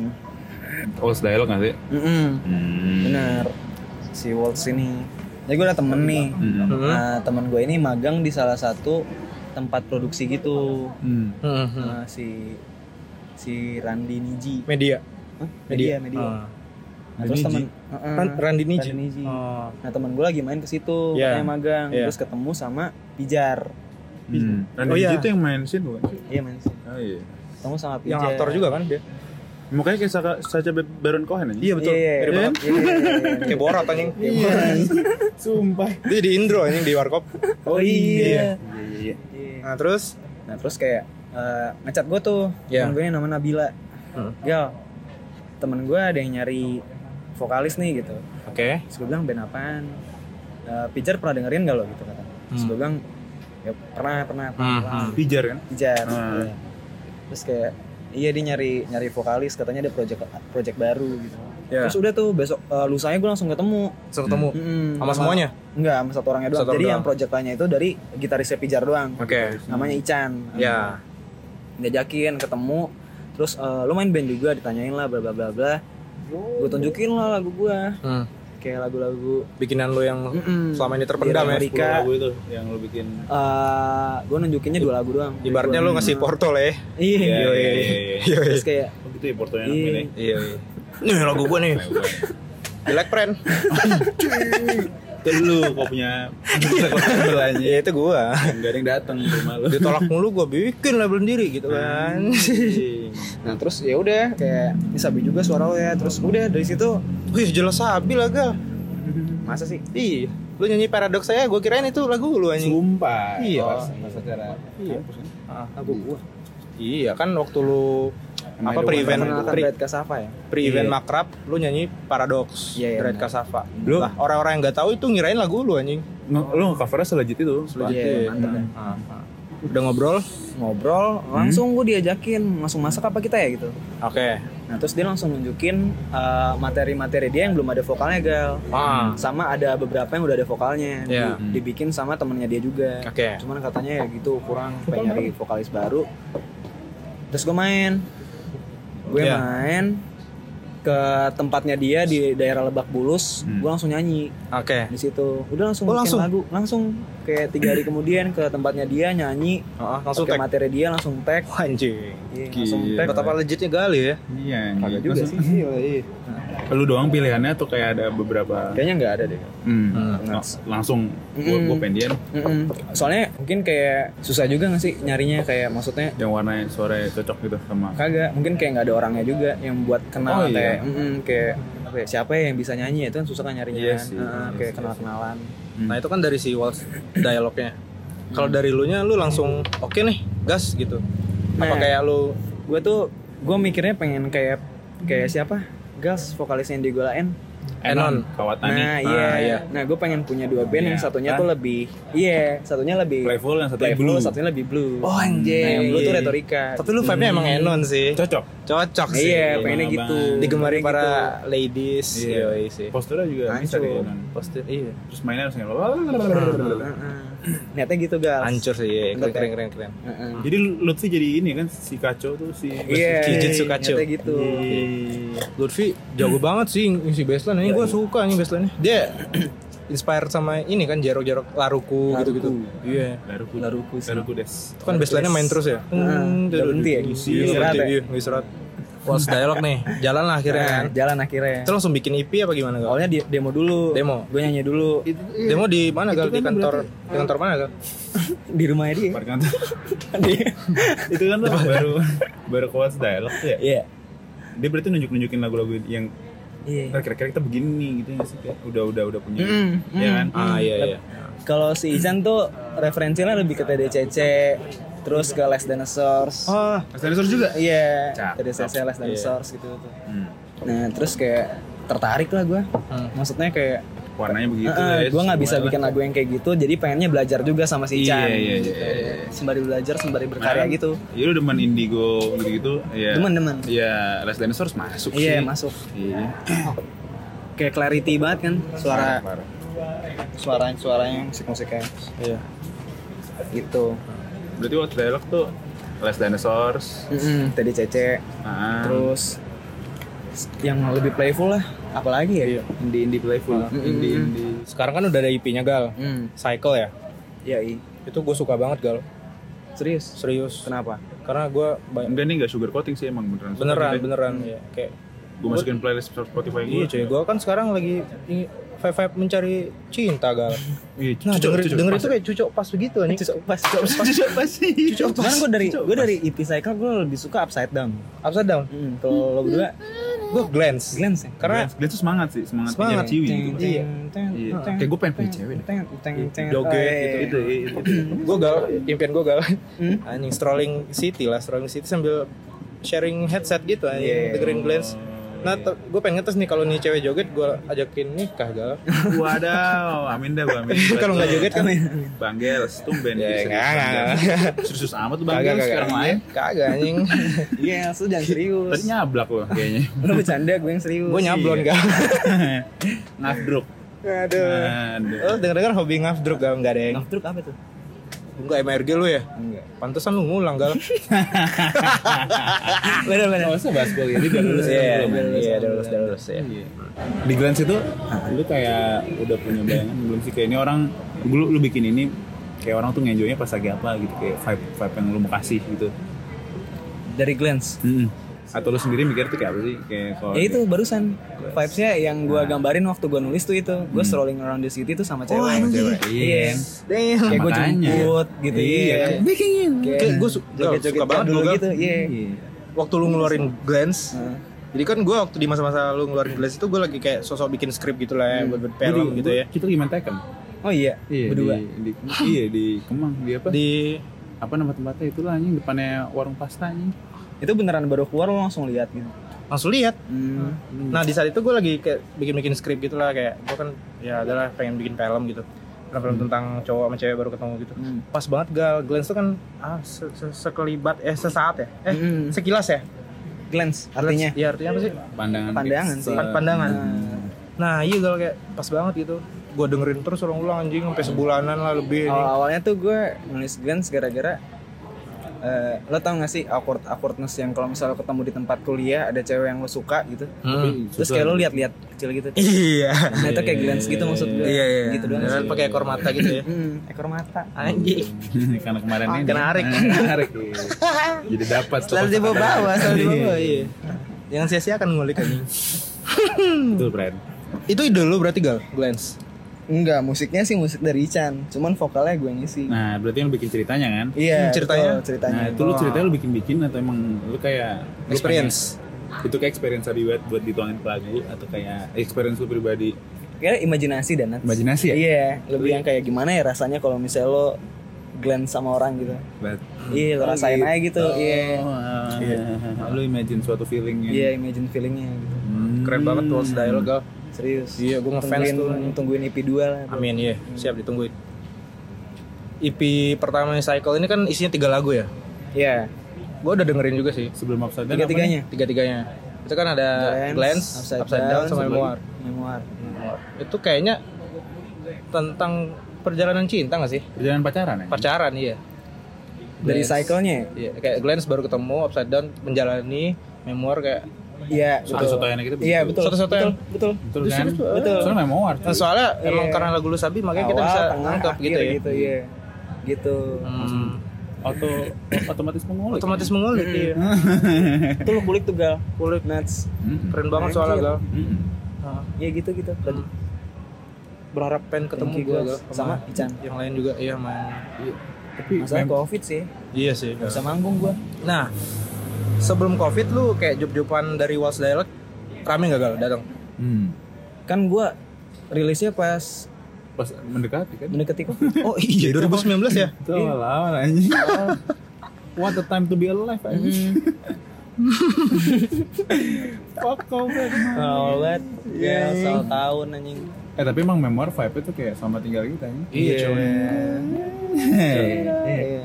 All style nggak sih? Mm-mm, Hmm. bener si Waltz ini jadi gue ada temen nih Hmm. nah, temen gue ini magang di salah satu tempat produksi gitu Hmm. Hmm, hmm. Nah, si si Randi Niji media Hah? media media Ah. nah, terus temen Ran- Mm-mm. Randy Niji. Randy Niji. Oh. nah temen gue lagi main ke situ Iya. kayak magang Iya. terus ketemu sama Pijar Hmm. Randy Oh, iya. Niji itu yang main scene bukan sih? iya main sih Oh iya. ketemu sama Pijar yang aktor juga kan dia Mukanya kayak Saka- Sacha Baron Cohen aja. kan? iya betul Iya, Mirip iya, banget. iya, iya, iya. kayak borat anjing Sumpah. dia di Indro anjing di warkop Oh iya. Iya. nah terus Nah terus kayak eh, ngecat gue tuh, Iya. temen gue yang nama Nabila. Hmm. Gal, temen gue ada yang nyari vokalis nih gitu. oke Terus gue bilang band apaan? Eh, Pijar pernah dengerin gak lo gitu kata. Terus gue bilang ya pernah pernah pernah. Hmm, pernah." hmm. Pijar kan? Pijar. Hmm. iya. Terus kayak iya dia nyari nyari vokalis katanya ada project project baru gitu. Iya. Terus udah tuh besok eh, lusanya gue langsung ketemu. Langsung ketemu Mm-mm, sama semuanya Enggak, sama satu orangnya doang. Satu orang Jadi yang doang. Hmm. project lainnya itu dari gitarisnya Pijar doang. oke Namanya Ican. ya ngajakin ketemu terus eh, lu main band juga ditanyain lah bla bla bla bla gue tunjukin lah lagu gua Hmm. kayak lagu-lagu bikinan lo yang Mm-mm. selama ini terpendam ya Di Hmm. Iya, Amerika. Sepuluh lagu itu yang lu bikin. gue eh, nunjukinnya dua lagu doang ibaratnya lo Dua- ngasih portol ya iya Iya iya iya. terus kayak Oh gitu ya portonya Iya. namanya. iya nih lagu gue nih jelek friend Itu lu kok punya belanja. ya itu gue Enggak ada yang datang ke rumah lu. ditolak mulu gue bikin label sendiri gitu kan nah terus ya udah kayak ini sabi juga suara lo ya terus udah dari situ wih jelas sabi lah gal masa sih Iya, lu nyanyi paradoks saya, gue kirain itu lagu lu anjing. Sumpah. Iya. Oh, Pas, pas acara. Iya. kampus kan. Ah, lagu gua. Iya kan waktu lu Emang apa ada pre-event mengenalkan pre, kan, Brad Kasava ya pre-event Iya. makrab, lu nyanyi paradoks Iya, iya, Dread benar. Kasava. Lu- Lah, orang-orang yang nggak tahu itu ngirain lagu lu anjing. Nge- Lu covernya selejit itu. Selejit. Iya, mantap ya. Ah, ah. Udah ngobrol? ngobrol langsung gue diajakin langsung masak apa kita ya gitu Oke. nah terus dia langsung nunjukin eh, materi-materi dia yang belum ada vokalnya gal Ah. sama ada beberapa yang udah ada vokalnya di- Iya. dibikin sama temennya dia juga Oke. cuman katanya ya gitu kurang pengen nyari vokalis baru terus gue main gue Iya. main ke tempatnya dia di daerah Lebak Bulus, Hmm. gue langsung nyanyi Oke. di situ. Udah langsung Oh, bikin langsung? lagu, langsung kayak tiga hari kemudian ke tempatnya dia nyanyi, Heeh, langsung pakai tag. materi dia langsung tag, Wah, Anjing. Iya, langsung Gila. tag. Betapa legitnya gali ya. Iya. Kagak gitu juga sih. sih. Iya, Lu doang pilihannya atau kayak ada beberapa Kayaknya nggak ada deh. Hmm. Hmm. Lang- langsung gua Ah, Hmm. gua pendian Mm-mm. Soalnya mungkin kayak susah juga nggak sih nyarinya kayak maksudnya yang warnanya suara cocok gitu sama kagak mungkin kayak nggak ada orangnya juga yang buat kenal Oh, iya. kayak mm-mm, kayak apa ya, siapa ya yang bisa nyanyi ya, itu kan susah kan nyarinya Iya sih, Heeh, iya kayak sih. kenal kenalan Hmm. Nah itu kan dari si walls dialognya. Hmm. Kalau dari lu nya lu langsung oke nih gas gitu. Apa Nah. kayak lu gue tuh gue mikirnya pengen kayak kayak siapa Gas vokalisnya yang digolain Enon? Kawatani. nah iya nah gue pengen punya dua band yang Ah, Iya. satunya Ah. tuh lebih iya satunya lebih Playful yang satu playful, blue. satunya lebih blue Oh, anjing. nah, yang blue tuh retorika Hmm. Tapi lu vibe nya emang Enon sih. Ah, Cocok. Cocok sih. iya pengennya Abang-abang. gitu Digemari gitu. Pengennya para ladies. Iya. Yoi sih. Posturnya juga bisa Hancur. deh. Enon. Poster iya. Terus mainnya harus kayak gitu. Heeh. niatnya gitu gas Hancur sih. Iya. Keren Bentar, keren ya. keren keren. Heeh. Jadi Lutfi jadi ini kan si Kaco tuh si Iya, Jujutsu niatnya Kacho. gitu. Iya. Lutfi jago banget sih si baseline ini gue suka nih baseline dia inspired sama ini kan jarok-jarok laruku Laruku. gitu-gitu iya Laruku. Laruku sih. Laruku Des. itu kan baseline main terus ya Hmm, udah berhenti ya? iya Istirahat berhenti, ya? iya nggak istirahat Walls dialog nih jalan lah akhirnya Nah, kan jalan akhirnya. itu langsung bikin EP apa gimana gal Awalnya di- demo dulu. Demo. Gue nyanyi dulu demo di mana gal di kantor di kantor mana gal di rumahnya dia. Iya. Parkan tuh. Di- itu kan lo baru baru kuat dialog tuh ya. Iya. Dia berarti nunjuk nunjukin lagu-lagu yang Iya. "Ntar kira-kira kita begini nih gitu ya sih kayak udah udah udah punya Mm, ya kan ah iya iya Kalau si Izan tuh referensinya lebih ke TDCC, terus ke Les Dinosaurs. ah Asensor juga Iya, Oh. Cakep. TDCC Les Dinosaurs gitu tuh. Hmm. Nah, terus kayak tertarik lah gue. Hmm, Maksudnya kayak warnanya begitu Heeh, Des. gue Ah, nggak bisa ya, Semua bikin lagu yang kayak gitu, jadi pengennya belajar juga sama si Iya, iya, Ican. iya, gitu. iya. Sembari belajar, sembari berkarya Nah, gitu. Iya lu demen indigo gitu-gitu ya. Demen-demen. Iya, Les Dinosaurs masuk sih. Iya, masuk. Iya. Kayak clarity banget kan suara Parah. suara suaranya musik musiknya iya gitu. Berarti waktu dialog tuh Les Dinosaurs. Mm-mm, Ah. TDCC, Nah, terus yang lebih playful lah, apalagi ya? indie indie playful, indie indie. sekarang kan udah ada EP-nya gal Hmm, cycle ya ya i. itu gue suka banget gal Serius? serius Kenapa? karena gue Enggak nih enggak sugar coating sih emang beneran. beneran beneran ya kayak Gue masukin playlist Spotify iya gue. cuy gue kan sekarang lagi vibe vibe mencari cinta gal Iya, nah cucok, denger, cucok, denger pas itu kayak cucok pas begitu nih Cucok pas, cucok pas. Cucok pas sih. Cucok Cuman gue dari gue dari EP Cycle gue lebih suka Upside Down. upside down Hmm, kalau lo berdua gue glance glance ya? karena Dia tuh semangat sih, semangat Semangat. punya ciwi gitu. Iya. Iya. Kayak gue pengen punya cewek deh. Joget Joget Eh. gitu itu itu. gue gal impian gue gal iya, Hmm? anjing strolling city lah strolling city sambil sharing headset gitu anjing Iya. dengerin glance nah gue pengen ngetes nih kalau nih cewek joget gue ajakin nikah gal Wadaw, amin dah gua amin. kalau nggak joget kan Banggel, tumben Ya, gitu. nggak, nggak. Iya. Serius amat tuh Banggel sekarang eh. main. kagak anjing Iya, lu jangan serius. Tadi nyablak loh kayaknya. Lu bercanda, gue yang serius. gue nyablon gal Ngafdruk. aduh Aduh. lo Nah, denger-denger hobi ngafdruk gal nggak ada yang Naftruk apa tuh? Enggak MRG lu ya? Enggak. Pantesan lu ngulang gal. Benar benar. Masa bahas gue jadi udah lulus Iya, kan belum? iya, udah lulus, udah lulus, ya. Iya. Di Glance itu ah, lu kayak udah punya bayangan belum sih kayak ini orang lu lu bikin ini kayak orang tuh ngenjoynya pas lagi apa gitu kayak vibe vibe yang lu mau kasih gitu. Dari glance. Atau lu sendiri mikir tuh kayak apa sih kayak kalau Ya itu barusan vibesnya yang gue Nah. gambarin waktu gue nulis tuh itu gue strolling around the city tuh sama cewek. sama cewek. Hmm. Oh, Iya. Iya. Kayak gue Makanya. jemput gitu. Iya, kan? Kayak gue su- Gal, suka banget dulu lu gal. gitu. Iya. Iya. Waktu lu ngeluarin glance. Jadi kan gue waktu di masa-masa lu ngeluarin glance itu gue lagi kayak sosok bikin skrip gitu lah ya, buat buat Gua film di- gitu gua- ya. Kita gimana Tekken? Oh iya. Iya, Berdua. Di, di, iya di Kemang, di apa? Di Di apa nama tempatnya itu lah anjing depannya warung pasta anjing. Itu beneran baru keluar lo langsung lihat gitu. langsung lihat. Hmm. Nah di saat itu gue lagi kayak bikin-bikin skrip gitu lah kayak gue kan ya adalah pengen bikin film gitu. Film, film tentang cowok sama cewek baru ketemu gitu. Hmm. Pas banget gal glance tuh kan ah, se- se- sekelibat eh sesaat ya eh Hmm. Eh. sekilas ya. Glance artinya. Ya artinya apa sih? Pandangan. Pandangan sih. Pan- pandangan. Nah iya gal kayak pas banget gitu Gue dengerin terus Iya, Oh. ulang-ulang anjing sampai sebulanan lah lebih Awal awalnya tuh gue nulis glance gara-gara eh, lo tau gak sih awkward awkwardness yang kalau misalnya ketemu di tempat kuliah ada cewek yang lo suka gitu Hmm. terus kayak lo lihat-lihat kecil gitu Iya. nah itu kayak glance gitu maksud gue Iya iya. gitu doang Dengan sih. pakai ekor mata gitu ya. Hmm, ekor mata Anjing. karena kemarin ini Kena arik. Eh, kena arik, iya. jadi dapat Selalu dibawa bawa, selalu dibawa bawa. Iya. Yang sia-siakan ngulik anjing. betul Bren Itu ide lo berarti gal, glance. enggak musiknya sih musik dari Ican cuman vokalnya gue yang ngisi nah berarti yang lu bikin ceritanya kan iya Hmm, ceritanya? betul, ceritanya nah itu lu ceritanya lu bikin bikin atau emang lu kayak lu Experience. pengen- itu kayak experience tadi buat buat dituangin ke lagu atau kayak experience lu pribadi kira imajinasi dan Nats. Imajinasi ya? iya lebih yang kayak gimana ya rasanya kalau misalnya lo glance sama orang gitu buat iya lo rasain aja gitu iya Oh. Oh, ah, Iya. iya. lu imagine suatu feelingnya iya imagine feelingnya gitu Hmm. Keren banget tuh style Hmm. lo gal. serius Iya, gua ngefans Tungguin- tuh. tungguin EP 2 lah bro. Amin ya, siap ditungguin. EP pertama Cycle ini kan isinya tiga lagu ya. iya Gue udah dengerin juga sih sebelum upside down tiga-tiganya tiga-tiganya. Itu kan ada Glance, Upside, Down, sama sebelum- Memoir. memoir Itu kayaknya tentang perjalanan cinta gak sih? perjalanan pacaran ya Pacaran iya. dari Glance. cycle-nya ya? Iya, kayak Glance baru ketemu, Upside Down menjalani Memoir kayak iya satu-satu yang kita iya betul Satu-satu betul yang- betul betul kan betul soalnya memoir Nah, soalnya emang karena lagu lu sabi makanya kita Iya. Awal, bisa tengah, nangkep akhir gitu ya. gitu iya gitu Hmm, auto otomatis mengulik otomatis mengulik iya. Hmm. itu lo kulik tuh gal kulik nuts Hmm. Keren banget soalnya Anjir. gal. Hmm. Nah, ya gitu gitu tadi berharap pengen ketemu Thank you, gue guys. Sama Ican. yang lain juga iya sama tapi masalah covid sih iya sih nggak bisa manggung gua nah sebelum covid lu kayak job-joban dari Walls Dialog rame gak gal datang Hmm. kan gua rilisnya pas pas mendekati kan mendekati covid oh iya 2019 ya itu awal-awal anjing what a time to be alive Hmm. anjing fuck covid awal banget Iya, ya soal tahun anjing eh tapi emang memoir vibe itu kayak sama tinggal kita ya? anjing Iya. Iya.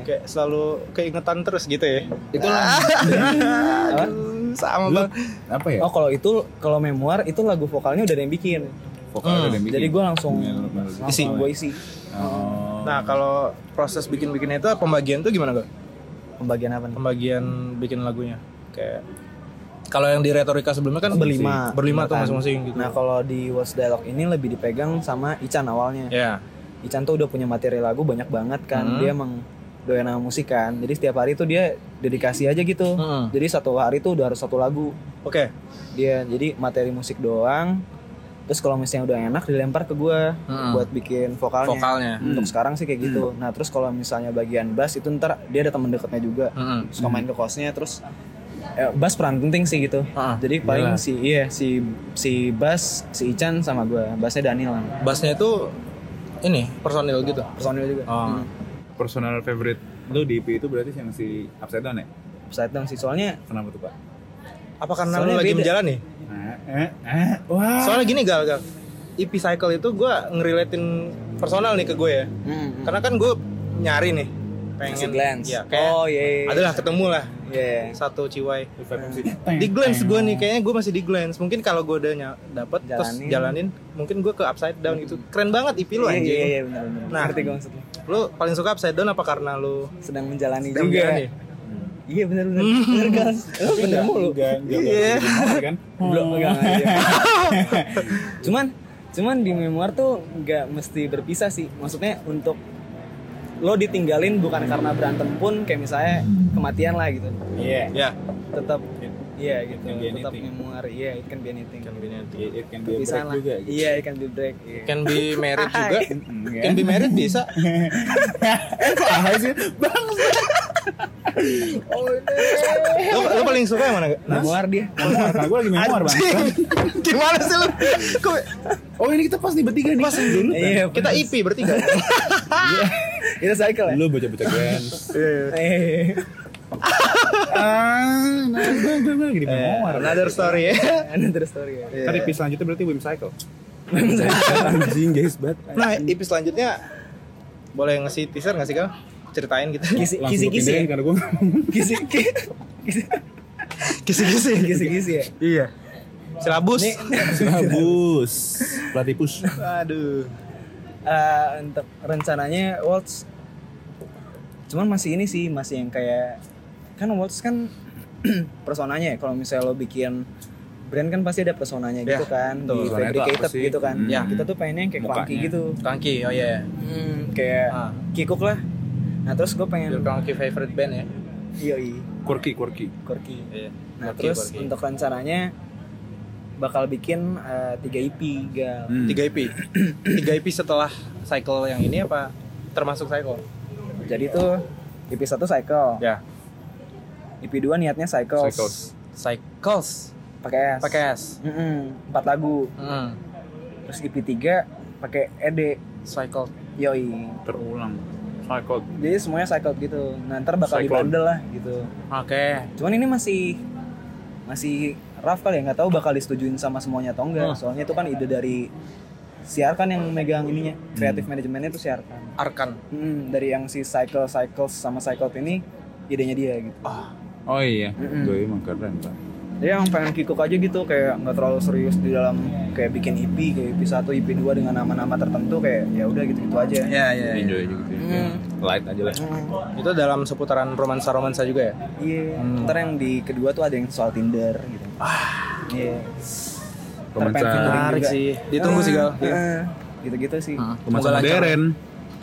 kayak selalu keingetan terus gitu ya itulah Aduh, sama Lu bang apa ya oh kalau itu kalau memoir itu lagu vokalnya udah ada yang bikin vokal ada yang bikin. jadi gua langsung Hmm. Iya, lu- lu- isi gua isi Oh. nah kalau proses bikin-bikinnya itu pembagian tuh gimana gal pembagian apa nih pembagian bikin lagunya kayak kalau yang di retorika sebelumnya kan berlima berlima tuh kan. masing-masing gitu nah kalau di What's Dialog ini lebih dipegang sama Ican awalnya ya Ican tuh udah punya materi lagu banyak banget kan. Hmm. Dia emang doyan sama musik kan. Jadi setiap hari tuh dia dedikasi aja gitu. Hmm. Jadi satu hari tuh udah harus satu lagu. oke Dia jadi materi musik doang. Terus kalau misalnya udah enak dilempar ke gua Hmm. buat bikin vokalnya. vokalnya Hmm. Untuk sekarang sih kayak gitu. Nah, terus kalau misalnya bagian bass itu ntar dia ada temen deketnya juga. Mm-mm. Suka main ke kosnya terus eh, bass peran penting sih gitu. Ah, Jadi paling si iya si si bass si Ican sama gua. Bassnya Daniel lah. bassnya itu ini personil gitu Personil juga. Oh. Hmm. personal favorite lu di EP itu berarti yang si upside down ya Upside down sih soalnya kenapa tuh pak apa karena Soalnya lu lagi beda. menjalani Eh, eh, eh. wah soalnya gini gal gal EP cycle itu gue ngeriletin personal nih ke gue ya karena kan gue nyari nih pengen Pengen Hmm, glance. ya kayak oh iya. iya. adalah ketemu lah Iya. satu ciwai Vibe MC. di glance gue nih kayaknya gue masih di glance mungkin kalau gue udah nya- dapet terus Jalanin. jalanin mungkin gue ke upside down gitu Hmm. keren banget IP lu Iya, anjing Iya iya benar benar. Nah. ngerti gue maksudnya. lu paling suka upside down apa karena lu Sedang menjalani Sedang juga. menjalani. Iya benar benar. Benar kan? Lo benar mulu. Enggak, enggak, Iya. enggak, enggak, kan? Belum pegang iya. aja. Oh. Cuman cuman di memoir tuh nggak mesti berpisah sih. Maksudnya untuk lo ditinggalin bukan karena berantem pun kayak misalnya kematian lah gitu. Iya. ya Tetap iya gitu. can be Tetap anything. memoir. Iya, it can be anything. It it can be a Perpisahan break lah. juga. gitu. Iya, it can be break. Iya. can be married juga Mm, ya. can be married bisa Parah sih. Bang, lu, lu paling suka yang mana Nah, Gak? Nah, Memoir dia. memoir. Karena gue lagi memoir, Bang. gimana sih lu Kok- Oh, ini kita pas nih bertiga nih. Pas dulu. Iya, kita IP bertiga itu cycle ya. Kan? Lu bocah-bocah Gans. Iya. Eh. Ah, nah, gue gue gue lagi di memoir. Eh, another story ya Iya. Another story ya. Kan episode selanjutnya berarti Wim Cycle. Anjing guys banget. nah IP selanjutnya boleh ngasih teaser nggak sih kau ceritain gitu Kisi kisi Langsung gue kisi ya? pindahin karena gue kisi kisi kisi-kisi kisi kisi ya. iya silabus Bagus. Platypus. aduh Eh, untuk rencananya Waltz cuman masih ini sih masih yang kayak kan Waltz kan personanya ya kalau misalnya lo bikin brand kan pasti ada personanya Ya, gitu betul. kan di Personanya itu apa fabricated sih? gitu Hmm. kan Ya. kita tuh pengennya yang kayak Mukanya. funky gitu Kangki, oh iya. Hmm, kayak Ah. kikuk lah nah terus gue Your pengen Kangki favorite band ya. yoi quirky quirky quirky Iya. nah Quirky, terus quirky. untuk rencananya bakal bikin eh, tiga EP gal Hmm. Tiga IP. Tiga IP setelah cycle yang ini apa? Termasuk cycle. jadi tuh EP 1 cycle Ya. EP 2 niatnya cycles, Cycles. Cycles. pakai S Pakai S. Mm-mm, empat lagu Hmm. terus EP 3 pakai ED Cycle. yoi terulang cycle jadi semuanya cycle gitu nah, ntar bakal di Cyclone. lah gitu Oke. cuman ini masih masih rough kali ya nggak tahu bakal disetujuin sama semuanya atau enggak Hmm. soalnya itu kan ide dari siarkan yang megang ininya kreatif manajemennya itu siarkan Arkan. Hmm, dari yang si cycle cycles sama cycle ini idenya dia gitu oh iya Mm-mm. gue emang keren pak dia yang pengen kikuk aja gitu kayak nggak terlalu serius di dalam kayak bikin EP kayak EP 1 EP 2 dengan nama-nama tertentu kayak ya udah gitu-gitu aja Ya, ya, ya. iya. enjoy aja gitu Mm. ya. light aja lah Hmm, Itu dalam seputaran romansa-romansa juga ya? iya ntar yang di kedua tuh ada yang soal Tinder gitu iya Ntar pengen Romansa- featuring Ah. Menarik juga. sih. Ditunggu sih, Gal. Iya. Eh, eh, gitu-gitu sih Hmm. romansa modern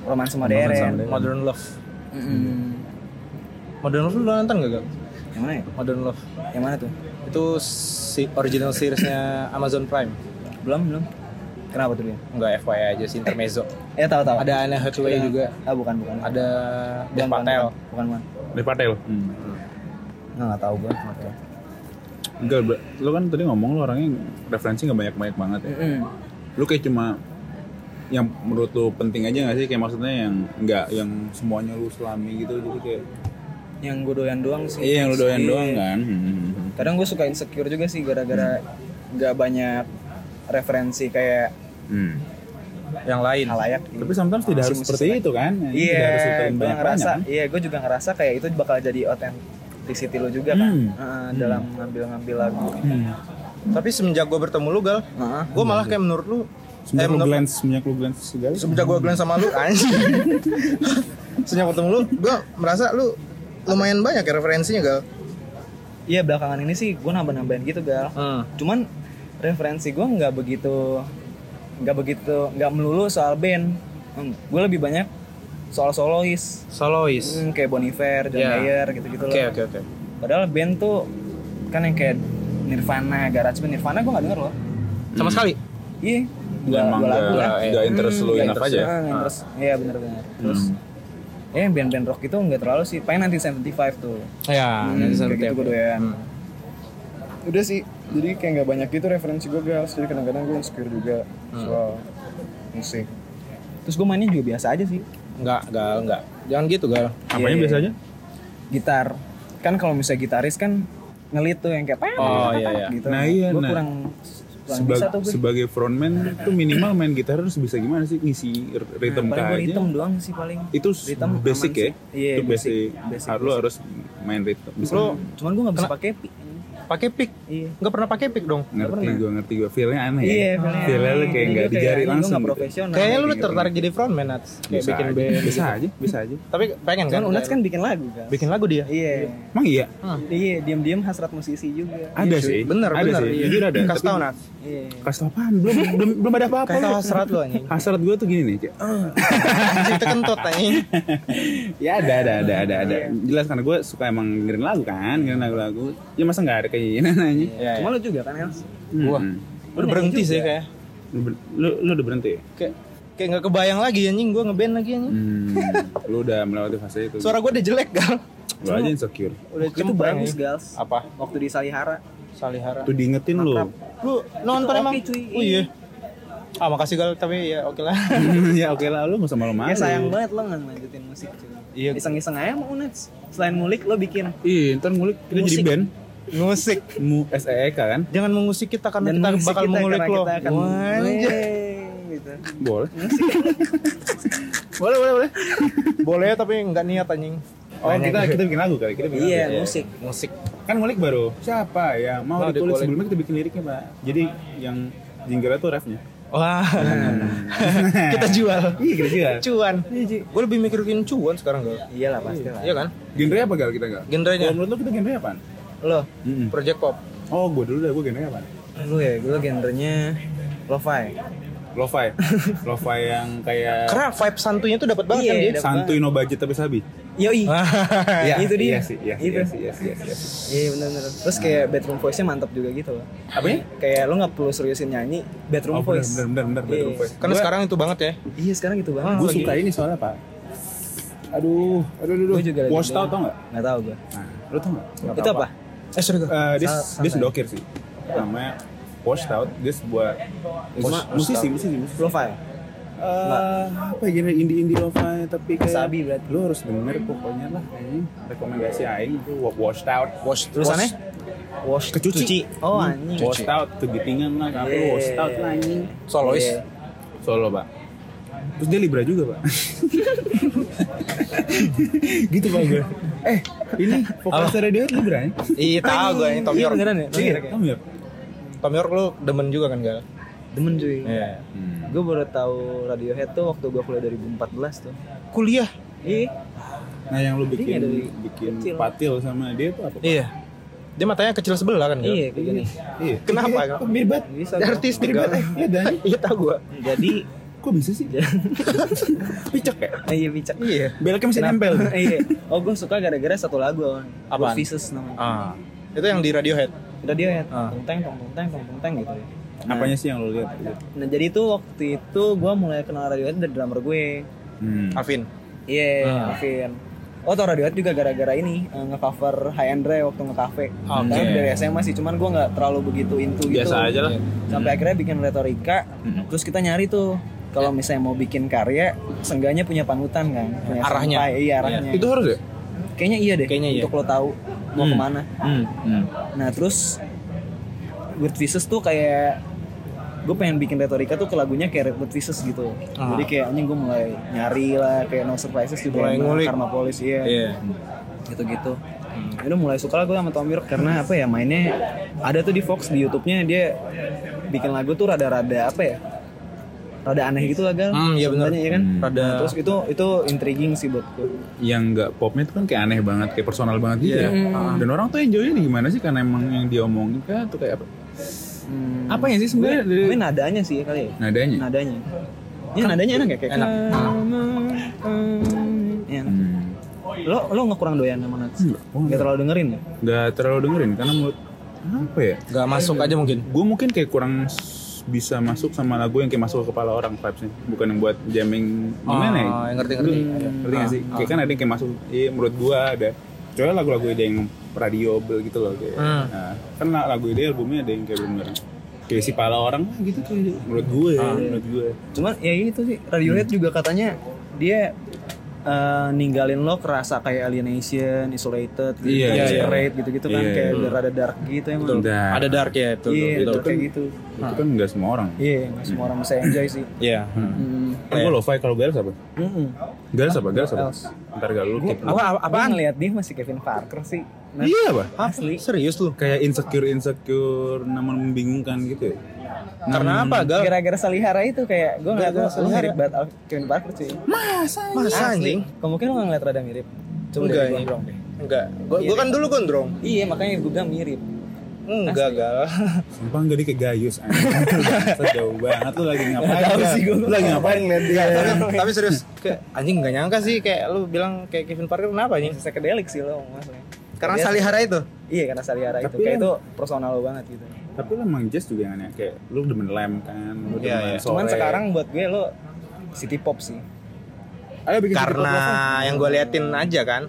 romansa modern Modern Love. Hmm. Mm-mm. Modern Love lu udah nonton gak, Gal? yang mana ya Modern Love. yang mana tuh Itu si original seriesnya Amazon Prime. belum belum kenapa tuh dia Enggak FYI aja sih intermezzo. ya tahu tahu Eh, Ada Anne Hathaway juga, ah bukan bukan ada bukan, Dev bukan, Patel. bukan, bukan bukan dari Patel hmm. nggak nggak tahu gue Hmm. okay. enggak Bro. lu kan tadi ngomong lu orangnya referensi nggak banyak banyak banget ya Hmm. lu kayak cuma yang menurut lu penting aja nggak sih kayak maksudnya yang nggak yang semuanya lu selami gitu jadi kayak yang gue doyan doang sih iya yang lu doyan Iya. doang kan Hmm. kadang gue suka insecure juga sih gara-gara Hmm. nggak banyak referensi kayak Hmm. Yang lain. halayak gitu. tapi sometimes tidak harus Musisi-musisi seperti itu kan Tidak harus Iya, ikutin gue banyak-banyak. kan? ngerasa. Iya, gue juga ngerasa kayak itu bakal jadi authenticity lo juga kan, Hmm. Heeh, dalam ngambil-ngambil lagu. Hmm. Tapi semenjak gue bertemu lu, Iya, Gal, Heeh. gue malah kayak menurut lu eh, semenjak lu menurut- glance semenjak lu glance segala semenjak gue glance sama lu anjing semenjak ketemu lu gue merasa lu lumayan banyak ya referensinya gal Iya, belakangan ini sih gue nambah-nambahin gitu gal. hmm. Cuman referensi gue nggak begitu, nggak begitu, nggak melulu soal band. Hmm, gue lebih banyak soal solois, solois Hmm, kayak Bon Iver, John Iya. Mayer, gitu-gitu oke loh. oke oke Padahal band tuh kan yang kayak Nirvana, Garageband, Nirvana gue nggak denger loh. sama sekali Iya, Lu dua, emang dua lagu nggak- lah. nggak interest lu Nggak enough interest. aja Hmm. ya? Ah, nggak interest. Iya benar-benar. Terus ya band-band rock itu nggak terlalu sih. Paling 1975 tuh. ya Ah, Hmm, kayak gitu gue doyan. Hmm. Udah sih. Jadi kayak nggak banyak gitu referensi gue guys. Jadi kadang-kadang gue insecure juga Hmm. soal musik. Terus gue mainnya juga biasa aja sih. nggak gal nggak jangan gitu gal Iya, apanya biasa aja Gitar. Kan kalau misalnya gitaris kan ngelit tuh yang kayak Oh, iya, iya. gitu. Nah, iya, Gue nah. kurang kurang Sebag- bisa tuh gue. sebagai frontman tuh minimal main gitar harus bisa gimana sih ngisi r- Nah, rhythm paling gue kah aja rhythm doang sih paling. itu Rhythm basic aman ya sih. Iya, itu basic, basic, Har- lu harus main rhythm bisa Bro, Cuman gue nggak bisa pakai pi. pakai pick Iya. nggak pernah pakai pick dong ngerti gue ngerti gue feelnya aneh ya Iya, feelnya feelnya lu kayak aneh. nggak Jadi gue dijari ini langsung Gue nggak gitu. profesional. Iya. kayaknya lu tertarik jadi frontman Nats kayak bisa bikin aja, band bisa aja bisa aja tapi pengen kan Cuman Unats kan bikin lagu kan. bikin lagu dia Iya. emang iya Iya, diam-diam hasrat musisi juga. ada sih bener ada bener sih iya. jujur ada kasih tau Nats Iya. kasih tau apaan belum belum belum ada apa-apa kasih lu. tau hasrat lu anjing hasrat gue tuh gini nih Cek. anjing tekentut anjing ya ada ada ada ada ada jelas karena gue suka emang dengerin lagu kan dengerin lagu-lagu ya masa nggak ada keinginan aja Iya, Cuma lu juga kan, Els? Hmm. Wah. udah berhenti sih kayak lu, ber- lu, lu udah berhenti ya? kayak kayak nggak kebayang lagi anjing gue ngeband lagi anjing Hmm, lu udah melewati fase itu. suara gue udah jelek gal lu aja insecure. Udah Waktu itu itu bagus, bagus, Gals. apa Waktu di Salihara. Ya, salihara Tuh diingetin lu. lu nonton oke, emang cuy. oh iya ah makasih gal tapi ya oke lah ya oke lah lu nggak usah malu-malu. Ya sayang banget lo nggak lanjutin musik cuy. Iya. Iseng-iseng aja mau Unats. Selain ngulik lo bikin. Ih, ntar ngulik kita jadi Musik. band. ngusik Mu SEK kan? jangan mengusik kita karena kita musik bakal mengulik karena lo Kita akan Wah, anjing. Wey, gitu. Boleh. boleh boleh boleh boleh tapi nggak niat anjing Oh, kita kita bikin lagu kali. Kita bikin Iya, lagu. musik. musik Kan ngulik baru. Siapa ya mau Mau dikulik dikulik. sebelumnya kita bikin liriknya, Pak. Jadi yang jingle tuh refnya. Wah, Nah. kita jual. Iya gitu juga. Cuan. Gue lebih mikirin cuan sekarang gal. Iya lah pasti lah. Iya kan? Genre apa gal kita gal? Kalau Genrenya menurut lu kita genre apaan? lo Hmm. Mm-mm. project pop. Oh, gue dulu deh, gue genre apaan? Lu ya, gue genrenya lo-fi. Lo-fi. Lo-fi yang kayak Karena vibe santunya tuh dapat banget Iya, kan dia. dapet santuy no budget tapi sabi. Yoi. Iya, itu dia. Iya sih, iya sih, Itu. iya sih, iya sih, iya sih, iya sih. Iya benar-benar. Terus kayak bedroom voice-nya mantap juga gitu loh. Apanya? Kayak lu nggak perlu seriusin nyanyi, Oh, bedroom bener, voice. Oh, bener, bener, bener, Iya. bedroom voice. Karena sekarang itu banget ya. Iya sekarang gitu banget. Ah, Gue lagi. suka ya. ini soalnya pak. Aduh, aduh, aduh, Gua aduh. juga lagi Washed dengerin. out tau nggak? Nggak tahu gue. Nah, lu tau nggak? Itu apa? Eh sorry gal. Eh, dia Santai. dia sendokir sih. Namanya Washed out. Dia sebuah Washed Out. musisi, musisi, musisi. Lo-fi. Eh, apa ya genre indie indie lo-fi tapi kayak Sabi berarti. lu harus denger pokoknya lah anjing rekomendasi aing itu wa- washed out Wash tulisannya? Wash Kecuci. Oh anjing. washed out kegitingan lah kalau Yeah. washed out lah anjing Solois. Iya. solo pak terus dia libra juga pak gitu pak gue eh ini vokalis radio libra ya Iya tahu gue yang Tom Iya, York. beneran ya? Tom Iya, York ya? kamu ya Tom York lu demen juga kan gal? Demen cuy. Iya. Gue baru tahu Radiohead tuh waktu gue kuliah 2014 tuh. Kuliah. Iya. nah yang lu Iya, bikin dari bikin kecil. patil sama dia tuh apa Pak? Iya. Dia matanya kecil sebelah kan gal? Iya kayak gini. iya Kenapa? Gal? mirbat Bisa. gua. Artistik gal. iya dan Iya tahu gue. Jadi kok bisa sih picek ya iya bicak. Iya. belaknya masih nempel iya. Oh gue suka gara-gara satu lagu Apaan? Apaan? Pieces namanya. Ah. Itu yang di Radiohead. Radiohead. Ah. Tong teng tong tong teng tong tong teng gitu ya. Nah, Apanya sih yang lo lihat? Nah jadi itu waktu itu gue mulai kenal Radiohead dari drummer gue. Hmm. Alvin. Iya, Ah. Alvin. Oh tau Radiohead juga gara-gara ini eh, ngecover High Andre waktu ngecafe. Oke. Karena dari SMA sih, cuman gue nggak terlalu begitu into gitu. Biasa aja lah. Sampai akhirnya bikin retorika, terus kita nyari tuh kalau misalnya mau bikin karya, seenggaknya punya panutan kan, punya Arahnya. sampai, iya arahnya. Itu harus ya? Kayaknya iya deh, Kayaknya iya. untuk lo tahu mau Hmm. kemana. Hmm. hmm. Nah terus Weird Pieces tuh kayak gue pengen bikin retorika tuh ke lagunya kayak Weird Pieces gitu. Ah. Jadi kayak anjing gue mulai nyari lah kayak No Surprises juga Mulai enak, ngulik. Karma Police iya gitu-gitu. Itu mulai suka lah gue sama Tom York karena apa ya mainnya ada tuh di Fox di YouTube-nya dia bikin lagu tuh rada-rada apa ya? Rada aneh gitu lah gal. Hmm, iya bener. Sebenarnya, ya kan? Hmm. Rada- Nah, terus itu itu intriguing sih buat gue. Yang nggak popnya itu kan kayak aneh banget, kayak personal banget gitu Iya. ya. Dan orang tuh enjoynya nih gimana sih? Karena emang yang dia omongin kan tuh kayak apa? Apa ya sih sebenarnya? dari- Mungkin nadanya sih ya kali ya. Nadanya. nadanya ini nadanya enak ya kayak Enak. Iya, enak. Hmm. lo lo nggak kurang doyan sama Enggak, nats oh, nggak enggak. terlalu dengerin ya Nggak terlalu dengerin karena menurut apa ya? Gak masuk Iya. aja mungkin. Gue mungkin kayak kurang s- bisa masuk sama lagu yang kayak masuk ke kepala orang vibesnya bukan yang buat jamming Iya, gimana ya? Ah, ngerti ngerti. ngerti gak sih? Kayak kan ada yang kayak masuk, iya menurut gua ada. Soalnya lagu-lagu ada yang radioable gitu loh kayak. Hmm. Nah, kan la- lagu ide albumnya ada yang kayak bener kayak si pala orang lah gitu kayak menurut gue Ah. ya, menurut gue. cuman ya itu sih Radiohead juga katanya dia eh, ninggalin lo kerasa kayak alienation, isolated, gitu, Iya, iya. gitu gitu kan Iya, kayak iya. rada dark gitu emang. Nah, Ada Eh. dark ya itu. Iya, itu. dark kayak gitu. itu kan nggak semua orang. Iya, nggak semua orang bisa enjoy sih. Iya. Mm. Kan gue lo-fi kalau garis apa? Mm-mm. Garis apa? Garis apa? Else. Ntar gak lu keep. Hmm. Apa apa- Apa apaan? ngelihat dia masih Kevin Parker sih? Nah, Iya apa? Asli. Serius lu? Kayak insecure insecure namun membingungkan gitu ya. Karena apa, Gal? Gara-gara Salihara itu kayak gue ngeliat lo Gara-gara lo mirip banget Al- Kevin Parker sih. Masa anjing? Kemungkinan lo ngeliat rada mirip. Coba Enggak, ya. dari ini. gondrong deh. Enggak. Gua, gua kan dulu gondrong. Iya makanya gue bilang mirip. Enggak, Gal. Sumpah jadi ke Gayus anjing. Sejauh banget lu lagi ngapain? Tahu sih gua. Lu lagi ngapain ngeliat dia? Tapi- Tapi serius, Iya. kayak anjing gak nyangka sih kayak lu bilang kayak Kevin Parker kenapa anjing? Psychedelic sih lo maksudnya. Karena Dia- Salihara itu. Iya karena Salihara itu Tapi kayak kan yang- itu personal lo banget gitu. Tapi lu emang jazz juga yang aneh kayak lu demen lem kan, lu demen Iya, iya. sore. Cuman sekarang buat gue lo city pop sih. ayo bikin Karena yang gue liatin aja kan.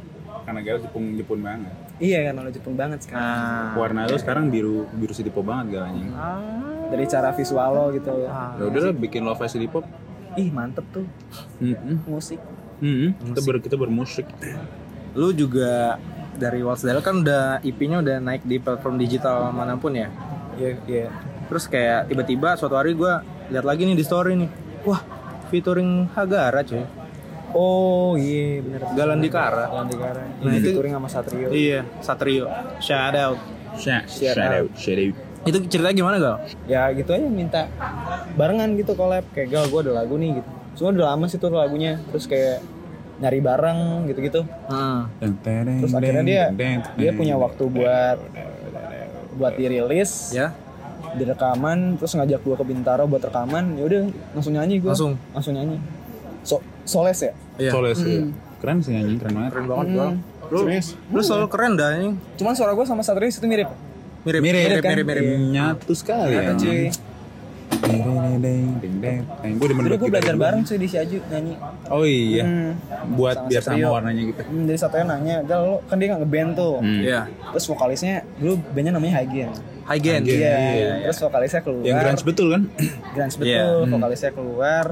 karena galau Jepun Jepun banget. Iya karena lo Jepang banget sekarang. Nah, Warna lu sekarang biru biru city pop banget galanya. Ah. Dari cara visual lo gitu. Ya udah lah bikin lo city pop. Ih mantep tuh Mm-mm. musik. Mm-mm. Mm-hmm. Kita ber kita bermusik. lu juga dari Walls Del kan udah IP-nya udah naik di platform digital manapun ya. Iya iya. Terus kayak tiba-tiba suatu hari gue lihat lagi nih di story nih. Wah, featuring Hagara cuy. Oh iya bener. Galandikara. Galandikara. Nah, Nah, itu- itu touring sama Satrio. Iya, Satrio. Shout out. Shout Shout shout out shout out. Itu ceritanya gimana gal? ya gitu aja minta barengan gitu collab kayak gal gue ada lagu nih gitu semua udah lama sih tuh lagunya terus kayak nyari bareng gitu-gitu Heeh. terus akhirnya dia dia punya waktu buat buat dirilis ya. direkaman terus ngajak gue ke Bintaro buat rekaman ya udah langsung nyanyi gue Langsung? langsung nyanyi so soles ya Iya. Soalnya sih Mm. keren sih anjing keren banget. Keren banget Hmm. Lu, lu selalu keren dah ini. cuman suara gue sama Satria itu mirip Mirip mirip mirip mirip. mirip. Nyatu sekali. Iya, Kata cuy Gue demen dulu banget gue gitar belajar gua. bareng cuy di Siaju nyanyi Oh iya. Hmm. Buat Sama biar Satrio. sama warnanya gitu. Hmm, jadi Satria nanya gal lu kan dia nggak ngeband tuh Hmm. Iya. terus vokalisnya dulu bandnya namanya Hagen High gain. High gain. Iya, Iya, terus vokalisnya keluar. Yang grunge betul kan? grunge betul, Iya, hmm. vokalisnya keluar.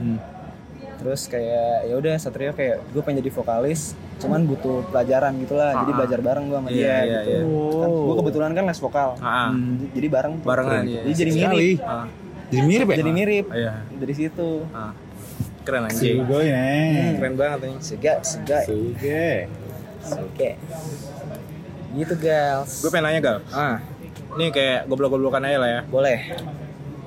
Terus kayak ya udah Satrio kayak gue pengen jadi vokalis, cuman butuh pelajaran gitulah. Jadi belajar bareng gue sama Iya, dia iya, gitu. iya. Kan gue kebetulan kan les vokal. Ah, ah. Hmm, j- Jadi bareng. tuh. Barengan, iya. Jadi jadi mirip. Sekali. Ah, Jadi mirip ya? Jadi mirip. Iya. Dari situ. ah. Keren anjing. Sugo ya. Hmm, Keren banget anjing. Sega, sega. Sugo. Oke. Gitu, gals. Gue pengen nanya gal. Ah, Ini kayak goblok-goblokan aja lah ya. boleh.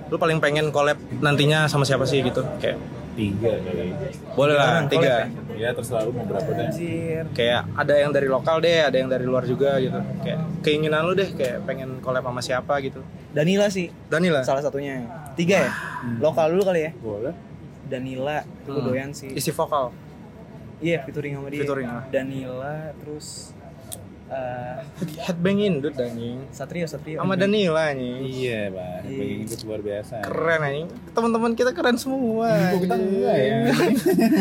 Lu paling pengen collab nantinya sama siapa sih gitu? Kayak Tiga kali. boleh lah orang collab tiga. Ya terserah lu mau berapa deh. Anjir. Kayak ada yang dari lokal deh, ada yang dari luar juga gitu. Kayak keinginan lu deh kayak pengen collab sama siapa gitu. Danila sih Danila. salah satunya. Tiga ya? Lokal dulu kali ya. Boleh. Danila, gue Hmm. doyan sih. Isi vokal. Iya, featuring sama dia. Featuring, ah. Danila, terus eh Head- Headbangin dude anjing. Satrio, Satrio. Sama Danila anjing. Iya, Bang. Pengen itu luar biasa. keren anjing teman-teman kita keren semua kita enggak ya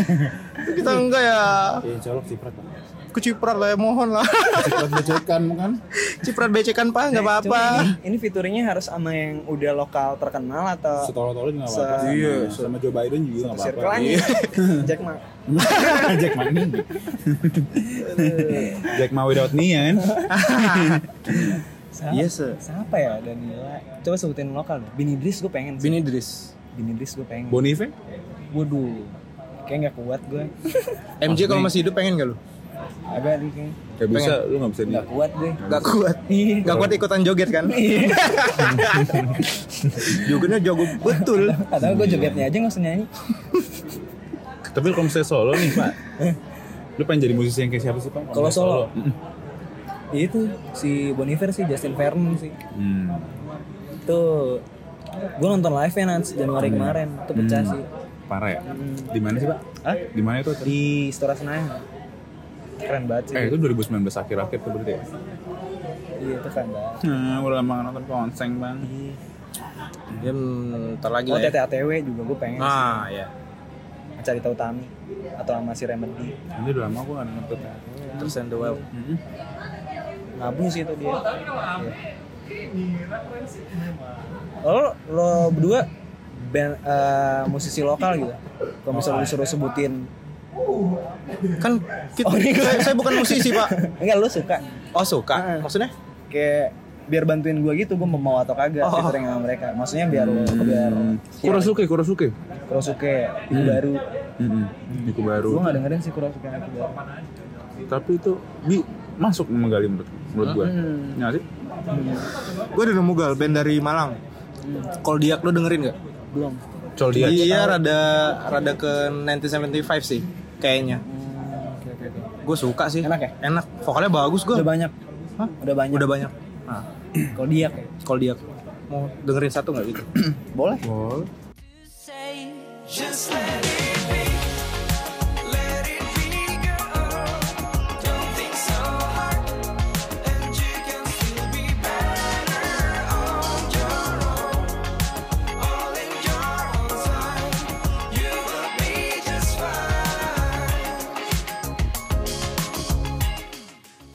kita enggak ya Ya, insya Allah ciprat lah. ku ciprat lah ya mohon lah Ciprat becekan kan? ciprat becekan pak nggak Cuma apa-apa Nah, Ini, ini featuringnya harus sama yang udah lokal terkenal atau Setolol-tolol juga nggak apa-apa. Se- Iya. Sama Joe Biden juga nggak apa-apa. Iya. circle-nya. Jack Ma. Jack Ma ini. Jack Ma without me ya kan? Iya, Siapa ya Danila? Coba sebutin lokal. deh. Bin Idris gue pengen. sih. Bini Idris Bin Idris gue pengen. Bonive? Waduh. Kayak gak kuat gue. MJ kalau masih hidup pengen gak lu Agak nih kayaknya. Gak bisa, lu nggak bisa di. Gak kuat gue. Gak kuat Iya. Gak kuat ikutan joget kan Jogetnya jago betul Atau gue jogetnya aja gak usah nyanyi. Tapi kalau misalnya solo nih Pak, lu pengen jadi musisi yang kayak siapa sih Pak? Kalau misalnya solo. Ya itu si Boniver sih Justin Vernon sih. Hmm. Itu gue nonton live nya Nats Januari kemarin itu pecah Hmm. sih Parah ya? Di mana sih Pak? Hah? Di mana itu? di Istora Senayan keren banget sih Eh itu 2019 akhir-akhir tuh berarti ya? iya itu keren banget Nah, udah lama nggak nonton konseng bang. Ya hmm, ntar lagi oh lah ya. TT ATW juga gue pengen Nah ya sih. cari tahu Tami atau sama si Remedy Ini udah lama gue nggak nonton. Terus and the wild nabung sih itu dia Iya. lo lo berdua band eh, musisi lokal gitu kalau misalnya disuruh sebutin Kan kita, Oh, saya, saya bukan musisi pak enggak lo suka Oh suka Maksudnya kayak biar bantuin gue gitu gue mau atau kagak Oh. Hmm. featuring sama mereka maksudnya biar biar Hmm. Kurasuke, Kurasuke. Kurosuke Iku baru Hmm. Iku baru. gue gak dengerin sih Kurosuke yang Iku baru Tapi itu bi masuk menggali menurut menurut gue. Nggak sih? Gue udah nemu gal band dari Malang Kalau dia lu dengerin gak? belum Col dia. Iya, rada rada ke 1975 sih kayaknya. Hmm, oke oke oke Gue suka sih. Enak ya? Enak. Vokalnya bagus gue. udah banyak Hah? udah banyak Udah banyak. Nah, kalau dia kayak kalau dia mau dengerin satu nggak gitu? boleh Col.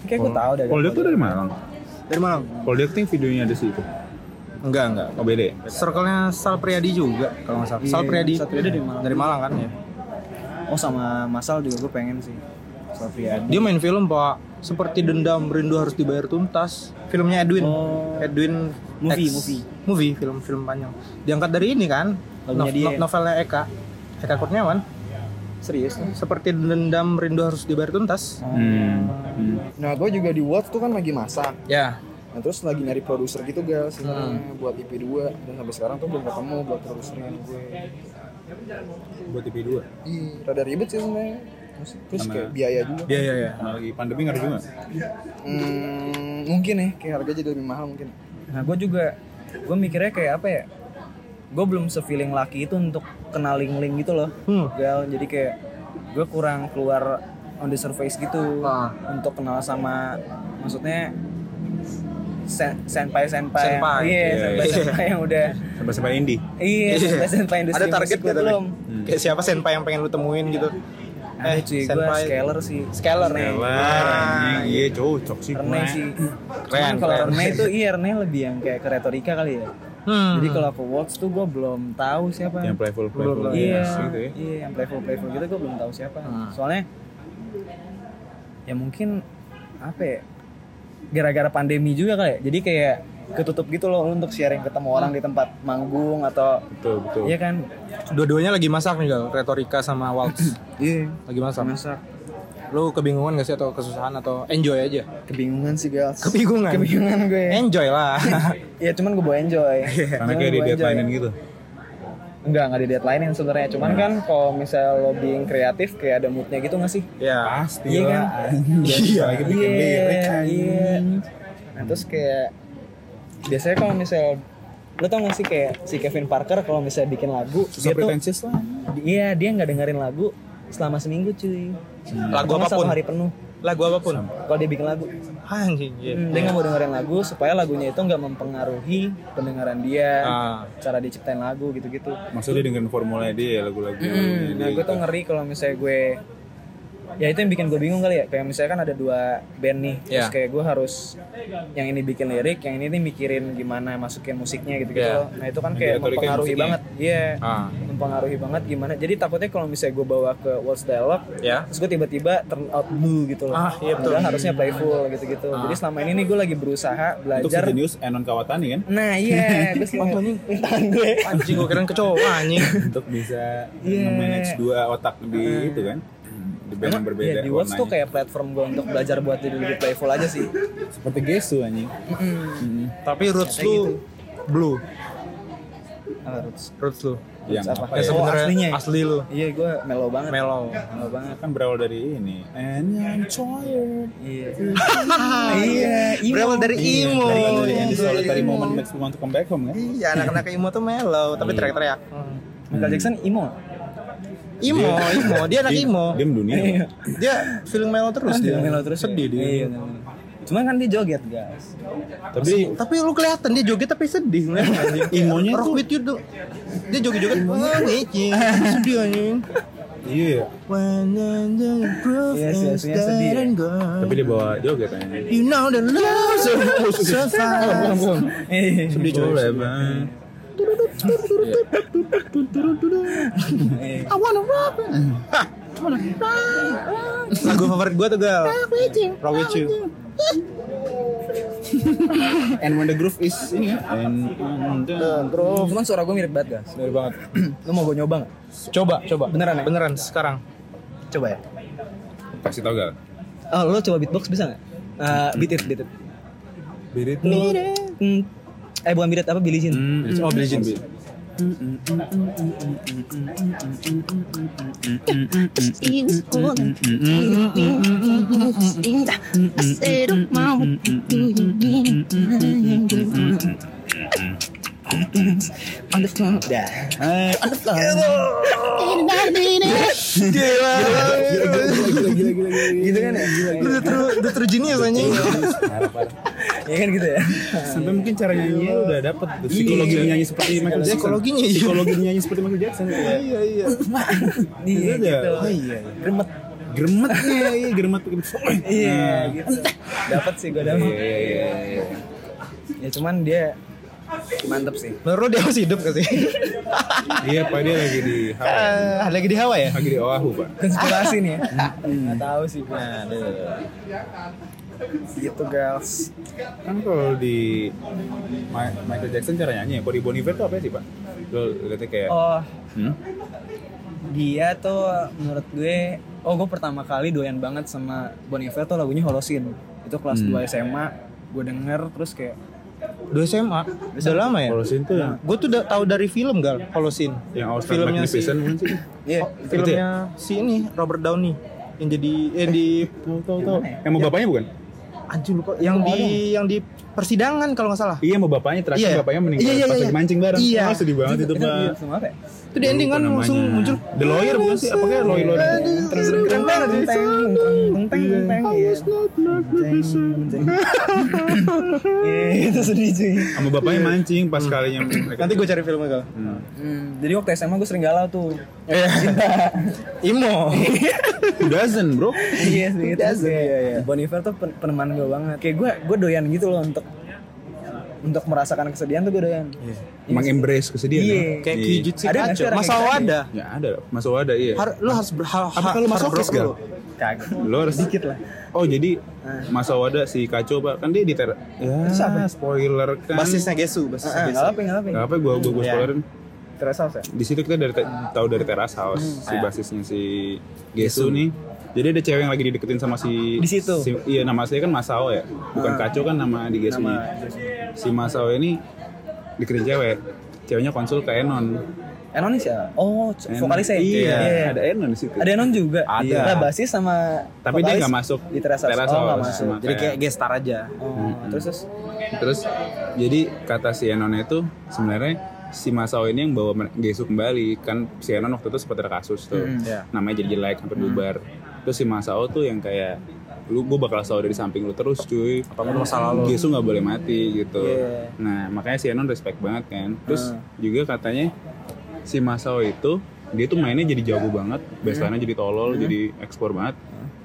kayak gue tahu deh Col dia tuh dari Malang. Dari Malang? Col dia tuh yang videonya ada sih itu. Enggak enggak. Oh beda ya? Circle-nya Sal Priadi juga kalau nggak salah. Iya, Sal Priadi. Sal Priadi dari Malang. kan ya. oh sama Masal juga gue pengen sih Sofian Dia main film pak. Seperti dendam rindu harus dibayar tuntas. Filmnya Edwin. Oh. Edwin. Movie, X. movie. Movie film-film panjang. Diangkat dari ini kan? Lagunya dia ya? novelnya Eka. Eka Kurniawan. serius Oh. tuh Seperti dendam rindu harus dibayar tuntas. Hmm. nah gue juga di Watch tuh kan lagi masak Ya. Nah, terus lagi nyari produser gitu Hmm. gal sebenarnya buat IP2 dan sampai sekarang tuh belum ketemu buat produsernya gue. buat TV 2 Ih, rada ribet sih sebenarnya. Terus, terus Sama- kayak biaya juga. Iya iya iya. Nah, Lagi pandemi ngaruh juga. Hmm, mungkin ya kayak harga jadi lebih mahal mungkin. Nah, gue juga gue mikirnya kayak apa ya? Gue belum se-feeling laki itu untuk kenal link-link gitu loh. Hmm. Gal, jadi kayak gue kurang keluar on the surface gitu Ah. untuk kenal sama maksudnya sen- senpai-senpai Senpai. yang, iya, Iya, senpai-senpai yang udah Sampai sampai indie. iya senpai-senpai industri Ada target musik gue nggak tapi? belum Kayak siapa senpai yang pengen lu temuin gitu? eh cuy gue scaler sih Scaler. ya, Wah, iya cocok sih. Rene sih Keren, Cuman kalau keren. Rene itu iya Rene lebih yang kayak ke retorika kali ya Hmm. Jadi kalau aku watch tuh gue belum tahu siapa. Yang playful playful iya, gitu ya. Ah. iya, yang playful playful gitu gue belum tahu siapa. Soalnya ya mungkin apa ya? Gara-gara pandemi juga kali ya. Jadi kayak ketutup gitu loh untuk sharing ketemu orang di tempat manggung atau Betul betul. iya kan? Dua-duanya lagi masak nih gal, retorika sama waltz. Iya. lagi masak. Masak. Lu kebingungan gak sih atau kesusahan atau enjoy aja? Kebingungan sih guys. Kebingungan. Kebingungan gue. Enjoy lah. ya cuman gue bawa enjoy. Karena Cuman kayak gua di enjoy. deadline gitu. Enggak, enggak di deadline sebenarnya. Cuman kan kalau misal lo being kreatif kayak ada moodnya gitu gak sih? ya. Pasti Iya kan? Iya. Lagi bikin lirik. Iya, iya. Nah, terus kayak biasanya kalau misal lo tau gak sih kayak si Kevin Parker kalau misalnya bikin lagu Susah dia tuh pretentious lah. iya dia nggak dengerin lagu selama seminggu cuy Hmm. Lagu Atau nggak apapun. satu hari penuh Lagu apapun. kalau dia bikin lagu Anjing. iya. Hmm, dia nggak mau dengerin lagu supaya lagunya itu nggak mempengaruhi pendengaran dia Ah. cara dia ciptain lagu gitu-gitu Maksudnya dengerin formulanya dia lagu-lagu. Hmm, nah gue gitu. tuh ngeri kalau misalnya gue ya itu yang bikin gue bingung kali ya kayak misalnya kan ada dua band nih terus Iya. kayak gue harus yang ini bikin lirik yang ini nih mikirin gimana masukin musiknya gitu gitu Iya. nah itu kan Yang kayak diatur kayak mempengaruhi musiknya. banget iya Ah. mempengaruhi banget gimana jadi takutnya kalau misalnya gue bawa ke Walls Dialog Ya. terus gue tiba-tiba turn out blue gitu loh Ah, iya betul. Ah. Padahal harusnya playful gitu gitu jadi selama ini nih gue lagi berusaha Untuk belajar sejenius Enon Kawatani kan. nah iya gue sih tangan gue Anjing gue keren kecoa anjing. Untuk bisa Iya. Nah. manage dua otak di itu kan. Di band yang Emang, berbeda iya, di Watch tuh warnanya. kayak platform gue untuk belajar buat jadi lebih playful aja sih. Seperti Gesu anjing. Tapi roots lu blue. gitu. Apa, Roots? Roots lu. Yang Apa? Ya apa Oh, ya? aslinya sebenarnya ya? asli lu. Iya, gue mellow banget. Mellow. Mellow banget. Kan berawal dari ini. And I'm tired. Iya. iya, emo. Berawal dari emo. Dari dari yang di solitary moment makes me want to come back home kan? Iya, anak-anak emo tuh mellow, tapi Iya. teriak-teriak. Michael Jackson emo. Iya. Imo, Imo, dia anak Imo. Iya. Dia mendunia. Bang. Dia film mellow terus dia. Dia mellow terus. Sedih ya? dia. Iya, bener-bener. Cuman kan dia joget, guys. Tapi Tapi lu kelihatan dia joget tapi sedih. Imonya Rock tuh with you tuh. Dia joget-joget. Wah, ngecing. Sedih anjing. iya. Iya, sih, aslinya sedih ya. Tapi dia bawa joget kan? aja. You know the love so, so fast. Iya. Sedih coy. Lagu favorit gua tuh gal. Rock with you. And when the groove is ini ya. And Bro, cuman suara gue mirip banget, guys. Bener banget. Lu mau gue nyoba nggak? Coba, coba. Beneran ya? Beneran sekarang. Coba ya. Kasih tau gak? Oh, lu coba beatbox bisa nggak? Eh, beat it, beat it. Birit Lu, mm, eh bukan beat it, apa Billie Jean? Oh beli jeans. Dah. Gitu kan ya? Itu terus itu terus jenius anjing. Iya kan gitu ya? Sampai mungkin cara nyanyinya udah dapet tuh. Psikologi nyanyi seperti Michael Jackson. Psikologinya iya. Psikologi nyanyi seperti Michael Jackson. Iya, iya. Iya Gitu. gitu. Oh, iya. Remet. Geremetnya, iya geremet. Iya gitu. Dapat sih gue Iya, dapat. iya, iya, iya. Ya cuman dia mantep sih. Menurut lu dia masih hidup gak sih? Iya, Pak dia lagi di Hawaii. Eh, lagi di Hawaii ya? Lagi di Oahu, Pak. Konspirasi nih ya. Nggak tahu sih gue. Gitu girls. Kan kalau di Ma- Michael Jackson cara nyanyi, ya? kalau di Bon Iver tuh apa sih, Pak? Lo liatnya kayak Oh, hmm? dia tuh menurut gue Hmm. oh gue pertama kali doyan banget sama Bon Iver tuh lagunya Holocene. Itu kelas 2 SMA. gue denger terus kayak Dua SMA, udah lama ya? Holocene tuh yang Gue tuh udah tahu dari film gal, Holocene. yang Austin filmnya si, Magnificent mungkin sih. iya oh, filmnya si ini Robert Downey yang jadi yang di ya? Tahu tahu tahu. Yang mau bapaknya bukan? anjing lupa yang di yang di persidangan kalau nggak salah. Iya, mau bapaknya terakhir Iya. bapaknya meninggal Iya, iya, pas iya. lagi mancing bareng. Iya. Ah, sedih banget itu, Pak. iya, sama apa ya? Itu di ending kan Lupa langsung namanya. muncul The Lawyer bukan sih? Apa kayak Lawyer Lawyer? Terus keren banget teng teng teng teng teng iya. Teng, teng. Iya, itu sedih cuy Sama bapaknya Iya. mancing pas Hmm. kalinya mereka. Nanti gue cari filmnya gal. Hmm. Hmm, jadi waktu SMA gue sering galau tuh Imo. Who doesn't, Bro? iya sih itu iya, iya. Bon Iver tuh pen- peneman gue banget kayak gue gue doyan gitu loh untuk untuk merasakan kesedihan tuh gue doyan Mengembrace kesedihan. Iya. ya? Kayak Iya. Kijutsu Ada nggak sih Kacho. orang Masa yang kayak wadah. Ya ada, masuk ada iya. Har, lu harus ber, ha, Apa kalau masokis gal? kagak Lo harus dikit lah Oh jadi Eh. Mas Awada si Kaco pak kan dia di ter ya spoiler kan Basisnya gitu. Iya. Gesu, basisnya nggak Gesu. apa nggak apa Gak apa gua gua, gua spoilerin terasa ya di situ kita dari te- tahu dari teras house Hmm. si basisnya si Gesu nih jadi ada cewek yang lagi dideketin sama si Di situ. Ah. si- iya nama saya kan Masao ya bukan Kaco kan nama di Gesu nya si Masao ini deketin cewek ceweknya konsul ke Enon Enon nih siapa? Oh, c- Enon- vokalisnya ya? iya, Iya. ada Enon di situ Ada Enon juga. Ada. Nah, basis sama tapi dia vokalis nggak masuk di teras house. Teras Oh, nggak House. masuk. Makanya- Jadi kayak gestar aja. Oh, terus terus Terus jadi kata si Enon itu sebenarnya si Masao ini yang bawa mer- Gesu kembali kan si Enon waktu itu sempat ada kasus tuh namanya jadi jelek sampai bubar terus si Masao tuh yang kayak lu gue bakal selalu dari samping lu terus cuy apapun masalah lu Gesu nggak boleh mati gitu Iya. nah makanya si Enon respect banget kan terus juga katanya si Masao itu dia tuh mainnya jadi jago banget baseline jadi tolol jadi ekspor banget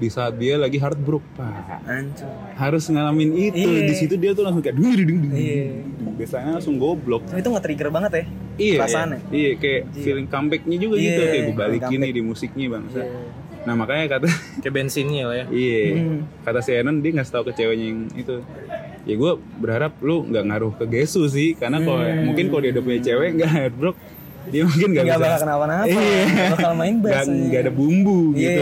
di saat dia lagi heartbroken pak hancur. harus ngalamin itu Iya. di situ dia tuh langsung kayak dung dung dung dung. Iya. biasanya langsung goblok Oh, Itu nge-trigger banget ya. iya Perasaannya. iya, iya kayak feeling comebacknya juga Iya, gitu kayak gue balikin comeback. Iya. nih di musiknya bang nah makanya kata Kayak bensinnya lah ya. iya Hmm. kata si Enon dia ngasih tahu ke ceweknya yang itu ya gue berharap lu nggak ngaruh ke Gesu sih karena kalau Hmm. mungkin kalau dia udah punya cewek nggak heartbroken dia mungkin nggak Enggak bisa bakal kenapa-napa. Iya. Nggak bakal main nggak bass. nggak ada bumbu Iya. gitu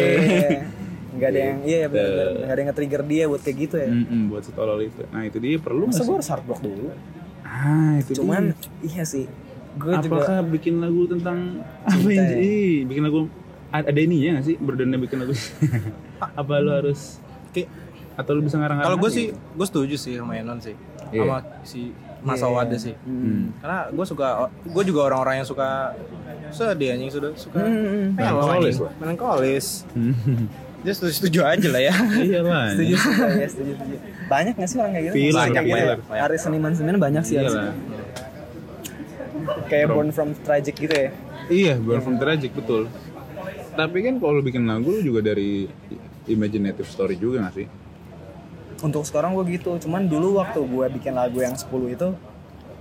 Enggak ada yang iya benar enggak ada yang nge-trigger dia buat kayak gitu ya. Mm-mm, buat setolol itu nah itu dia perlu Masa nggak gue sih? harus hard rock dulu? ah itu dia. Cuman iya sih. Gue juga apakah bikin lagu tentang apa Cinta yang ya? ih, bikin lagu a- ada ininya nggak sih berdana bikin lagu apa lu harus Kayak- atau lu bisa ngarang Kalau gue sih, gue setuju sih sama Enon sih, Nah, Iya. Hmm. sama si Mas Awada sih. Karena gue suka, gue juga orang-orang yang suka sedih anjing sudah suka Hmm. Nah, melo anjing. Melankolis, Pak. melankolis. Dia setuju, setuju aja lah ya. iya lah setuju sih, iya, setuju, setuju. Banyak gak sih orang kayak gitu? Filler, banyak filler. ya. Artis seniman-seniman banyak sih iya harusnya. lah Kayak Born From Tragic gitu ya. iya born from tragic betul tapi kan kalau lu bikin lagu lu juga dari imaginative story juga nggak sih Untuk sekarang gue gitu, cuman dulu waktu gue bikin lagu yang 10 itu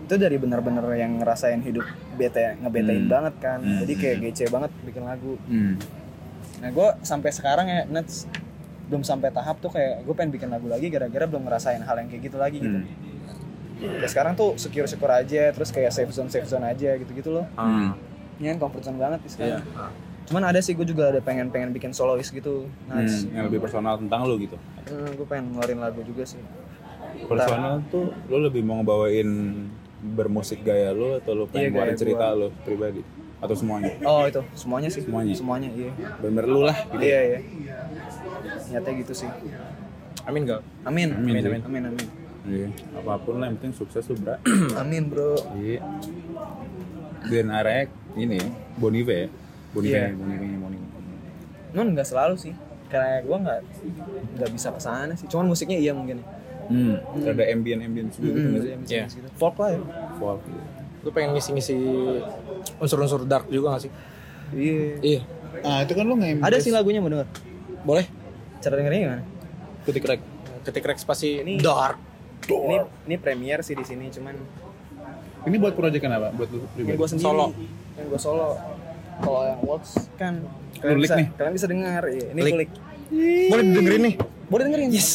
itu dari bener-bener yang ngerasain hidup bete ngebetain Hmm. banget kan. Jadi kayak gece banget bikin lagu. Nah gue sampai sekarang ya Nets belum sampai tahap tuh kayak gue pengen bikin lagu lagi gara-gara belum ngerasain hal yang kayak gitu lagi gitu. Kayak sekarang tuh secure-secure aja, terus kayak safe zone safe zone aja gitu-gitu loh. Hmm. Ini kan comfort zone banget sih sekarang. Cuman ada sih gue juga ada pengen pengen bikin solois gitu. Nah, Hmm, yang lebih personal tentang lu gitu gue pengen ngeluarin lagu juga sih. personal tuh lu lebih mau ngebawain bermusik gaya lu atau lu pengen Iya, ngeluarin gaya cerita lu pribadi atau semuanya Oh itu semuanya sih. Semuanya? Semuanya iya. bener lu lah gitu Iya iya. Nyatanya gitu sih. Amin gak? Amin. Amin, Amin amin amin. amin. Amin, Iya. Apapun lah yang penting sukses tuh, Bra. Amin, bro. Iya. Dan arek ini Bonive ya. Bonive, Iya. Bonive, Bonive. Non nggak selalu sih. Karena gue nggak nggak bisa kesana sih. Cuman musiknya iya mungkin. ya. Hmm. Ada ambient ambient juga gitu nggak sih? Bisa Iya. gitu. Folk lah ya. Folk. iya. Gue pengen ngisi-ngisi unsur-unsur dark juga gak sih? Iya. Iya. Ah, itu kan lu nge Ada sih lagunya mau denger. Boleh? Cara dengerinnya gimana? Ketik rek. Ketik rek spasi Ini- dark. Ini ini premier sih di sini. Cuman Ini buat proyek apa? Buat lu ini pribadi. gue sendiri. Solo. Yang gue solo. Kalau yang works kan Lu kalian lick bisa, nih? kalian bisa dengar. Iya, ini Lick. kulik. Boleh dengerin nih? Boleh dengerin. Yes.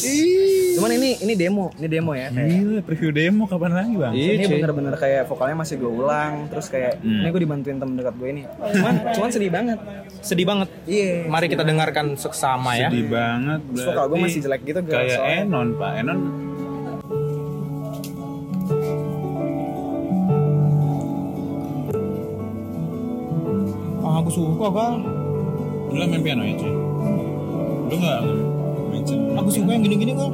Cuman ini ini demo, ini demo ya. Kayak Gila, preview demo kapan lagi, Bang? Iya, ini cuy. bener-bener kayak vokalnya masih gue ulang terus kayak ini gue dibantuin temen dekat gue ini cuman cuman sedih banget Sedih banget. iya Mari kita dengarkan seksama ya. Sedih banget. Terus vokal gua berarti masih jelek gitu, Gal, Kayak soalnya. Enon, Pak. Enon Ah, aku suka bang. Lu lah main piano ya cuy? Lu gak mention Aku suka yang gini-gini kok.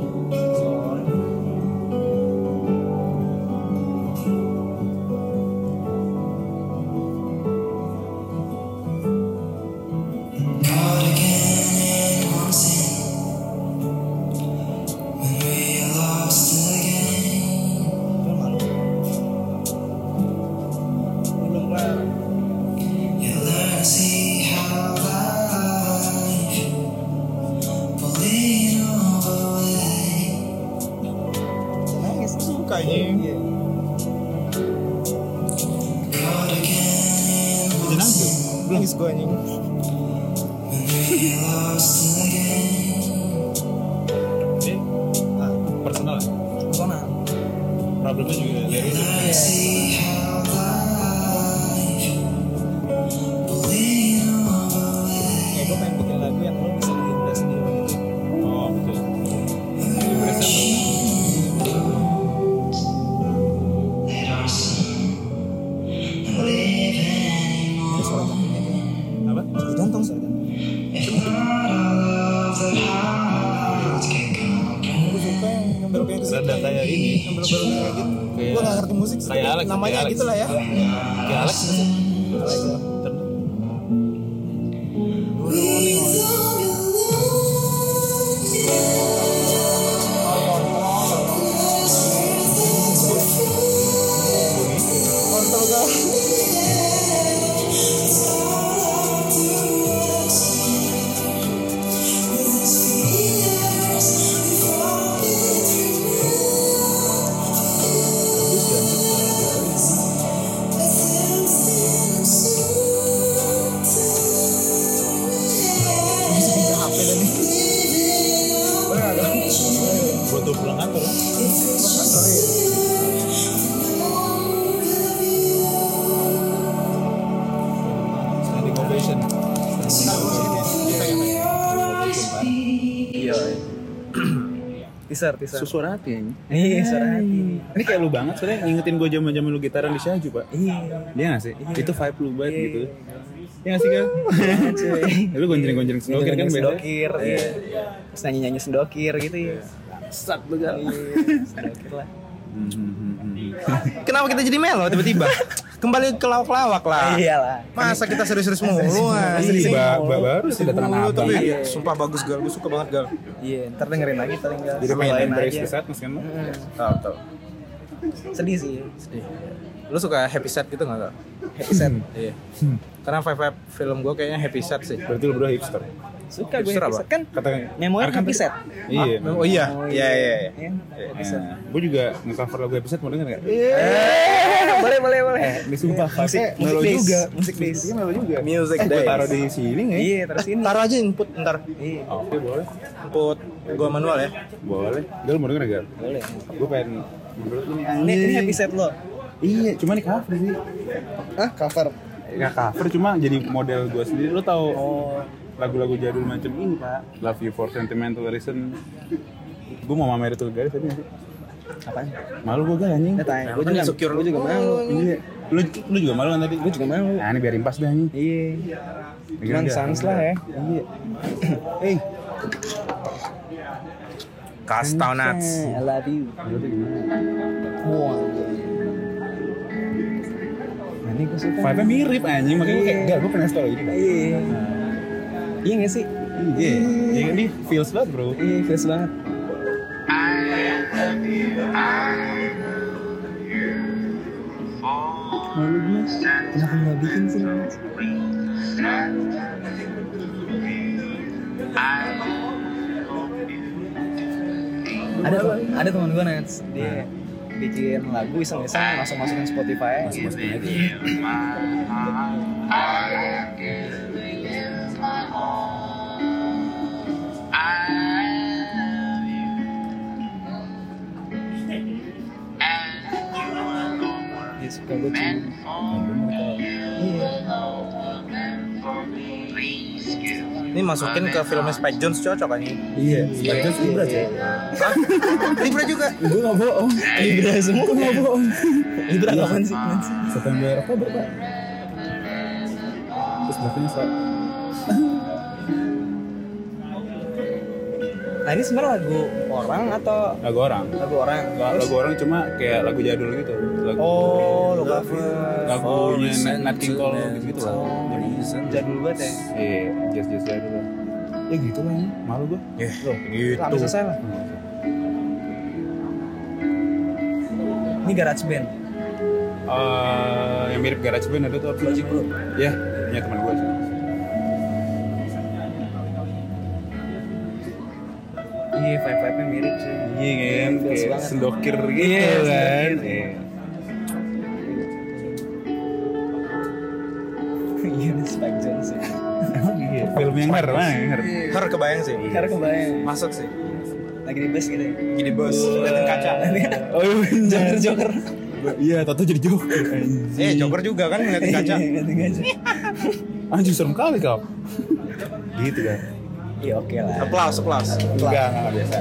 Nangis, aku suka ini. Udah nangis? Belum. Nangis gue anjing. Ini personal ya? Personal. Problemnya juga dari lu. Kayak gue pengen bikin lagu yang lo bisa diindah sendiri gitu. Oh betul Jadi berasa apa? Terus orang sakit aja. Apa? Sakit jantung, sakit jantung. Aku suka yang yang belok kayak gitu. Rada kayak ini Yang belok-belok kayak gitu. Kayak- Gue gak ngerti musik sih. kayak Alex, Namanya kayak Alex. gitu lah ya. Kayak Alex nggak sih? Ntar dulu. Kontol gue. Bisa pindah HP dan ini. Butuh pulang kantor lah Standing ovation Iya. teaser, teaser. Suara hati anjing. Iya, suara hati. Ini kayak lu banget soalnya ngingetin gue zaman-zaman lu gitaran di Syahju, Pak. Iya. Iya gak sih? Itu vibe lu banget gitu. Iya gak sih, Kak? Kan, Lu gonjreng-gonjreng sendokir kan Nyanyi biasanya. Iya, sendokir, iya. Terus nyanyi-nyanyi sendokir gitu ya. Sat lu kan. Sendokir lah. Hmm, Kenapa kita jadi melo tiba-tiba? Kembali ke lawak-lawak lah. Iyalah. Masa kita serius-serius Iya. mulu Iya. Ini anjing. ba- ba- Oh. Iya, baru sih datangan Mulu, abang. tapi sumpah bagus gal, gue suka banget gal. Iya, ntar dengerin lagi ntar enggak. Jadi main Lain baris aja. Hmm. ke saat mas kan? Tau tau. Sedih sih. Lu suka happy set gitu nggak gal? Happy set. Iya. Karena vibe vibe film gue kayaknya happy set sih. Berarti lu berdua hipster. Suka gue Hipster happy apa? set kan. Kata Memoir happy set. Iya. Ah, Oh iya, iya iya. iya. Iya, happy set. Gue juga nge-cover lagu episode mau denger gak? Boleh, boleh, boleh. Ini sumpah Iya. Musik, vibe-nya musik melo bass, juga. musik bass. Musiknya melo juga. Music Eh, Gue days. taruh di sini gak ya? Iya, terus ini. Taruh aja input ntar. Iya. Oke boleh. Input gue manual ya. Boleh. Gal mau denger gak? Boleh. Gue pengen menurut lu nih Ini, ini anjing. happy set lo. Iya, cuma di cover sih. Ah, cover. Gak cover, cuma jadi model gue sendiri. Lu tau Oh. lagu-lagu jadul macam ini, Pak. Love You For Sentimental Reason. Gue mau mamer itu garis tadi nggak sih? Apaan? Malu gue gak anjing. Nggak tanya. Gue kan juga, insecure. gue juga mau. Iya. Lu, lu juga malu kan tadi? Gue juga malu. Nah, ini biar impas dah anjing. Iya. Cuman Cuman sans lah ya. Iya. Eh, Kastau nuts. I love you. Nah, ini gue suka. Vibe-nya mirip anjing, makanya gue kayak, gak, gue pengen story ini. Pak." Iya. Iya nggak sih? Iya. Iya, ini feels banget bro. Iya, fresh banget. Malu gue, kenapa nggak bikin sih? Ada tuh, ada teman gue Nats, dia bikin lagu iseng-iseng langsung masukin Spotify gitu. Dia suka gue cuman Iya Ini masukin ke filmnya Spike Jones cocok kan anjing. Iya. Sebagian libra aja. Hah? Libra juga. Gue gak bohong. Libra semua Gue gak bohong. Libra apaan sih? Apaan sih? September Oktober pak. terus belakangnya salah. Nah ini sebenarnya lagu orang atau lagu orang lagu orang? lagu orang cuma kayak lagu jadul gitu lagu Oh, lo cover. lagunya Nat- Nat King Cole gitu gitu lah Jadul banget ya. iya jazz jazz jadul lah ya gitu lah ini. malu gua ya Gitu. Lama selesai lah. Ini garage band. Eh, yang mirip garage band ada tuh apa Logic Pro. ya punya teman gua sih kan? Iya, vibe vibe mirip sih. Iya kan, kayak Feels banget. sendokir gitu Iya, kan. sendokir. Iya. Iya, ini Spike Jonze. Film yang her, mana yang her? Her kebayang sih. Karena kebayang Masuk sih. lagi di bus gitu. ya. Gini bos, liatin kaca. Oh iya, Joker Joker. iya, tato jadi joker. eh, Joker juga kan ngeliatin kaca. Anjing serem kali kau. gitu kan. Iya oke lah. Aplaus, aplaus. Enggak, enggak biasa.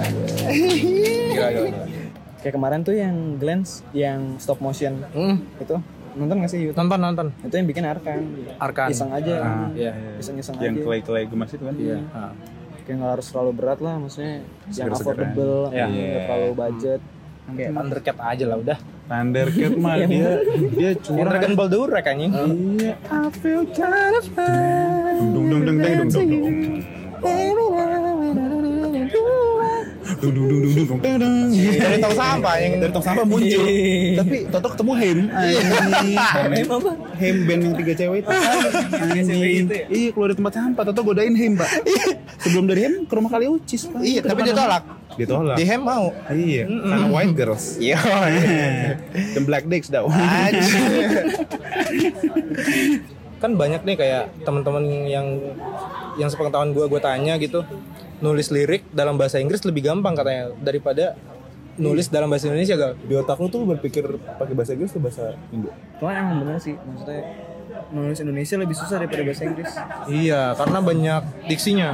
Iya. Gila, gila. Kayak kemarin tuh yang glance yang stop motion Hmm, itu nonton gak sih YouTube? nonton nonton. Itu yang bikin kan. Arkan. Arkan. Iseng aja. Iya. Iseng-iseng Yang aja. kelai-kelai gemas itu kan. Iya. Ah. kayak nggak harus terlalu berat lah maksudnya yang Segera-segera. affordable Iya. nggak terlalu budget Kayak undercut aja lah udah. Thundercat mah dia dia Ini curang. Dragon Ball Durek anjing. Iya. Dung dung dung deng dung dung dung. Dung dung dung dung dung dung deng deng. Dari tong sampah yang Dari tong Iya, sampah muncul. Tapi Toto ketemu Hem. Anjing. Hem band yang tiga cewek itu. Anjing. Iya, keluar dari tempat sampah Toto godain Hem, Pak. Sebelum dari Hem ke rumah kali Ucis, Pak. Iya, tapi dia tolak. Ditolak. Di hem mau. Iya, karena white girls. Iya. The black dicks dah. kan banyak nih kayak teman-teman yang yang sepengetahuan gue gue tanya gitu nulis lirik dalam bahasa Inggris lebih gampang katanya daripada nulis dalam bahasa Indonesia gal Di otak lu tuh berpikir pakai bahasa Inggris atau bahasa Indo? cuma emang bener sih maksudnya menulis Indonesia lebih susah daripada bahasa Inggris iya karena banyak diksinya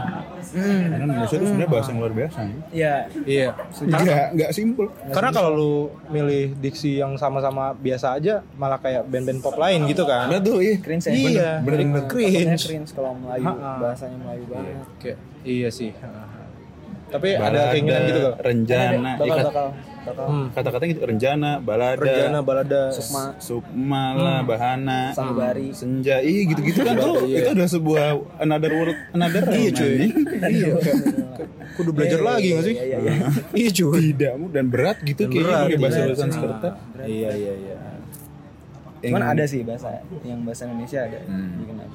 Karena Indonesia itu sebenarnya bahasa yang luar biasa. gitu. ya iya karena, Enggak, enggak simpel. karena kalau lu milih diksi yang sama-sama biasa aja malah kayak band-band pop lain gitu kan tuh, iya. cringe ya iya bener, Takutnya cringe cringe kalau Melayu Ha-ha. bahasanya Melayu banget Kayak- iya sih tapi ada keinginan gitu gal Renjana, bakal ikat- bakal bakal hmm. kata-katanya gitu renjana, balada, Perjana balada sukma sukma lah, bahana, sanubari senja, iya gitu-gitu kan tuh itu udah sebuah another world, another iya cuy, iya kudu belajar lagi nggak sih iya iya iya cuy tidak mudah dan berat gitu kayaknya berat, pakai bahasa berat. bahasa Sanskerta, iya iya iya cuman Iya. ada sih bahasa yang bahasa Indonesia ada dikenal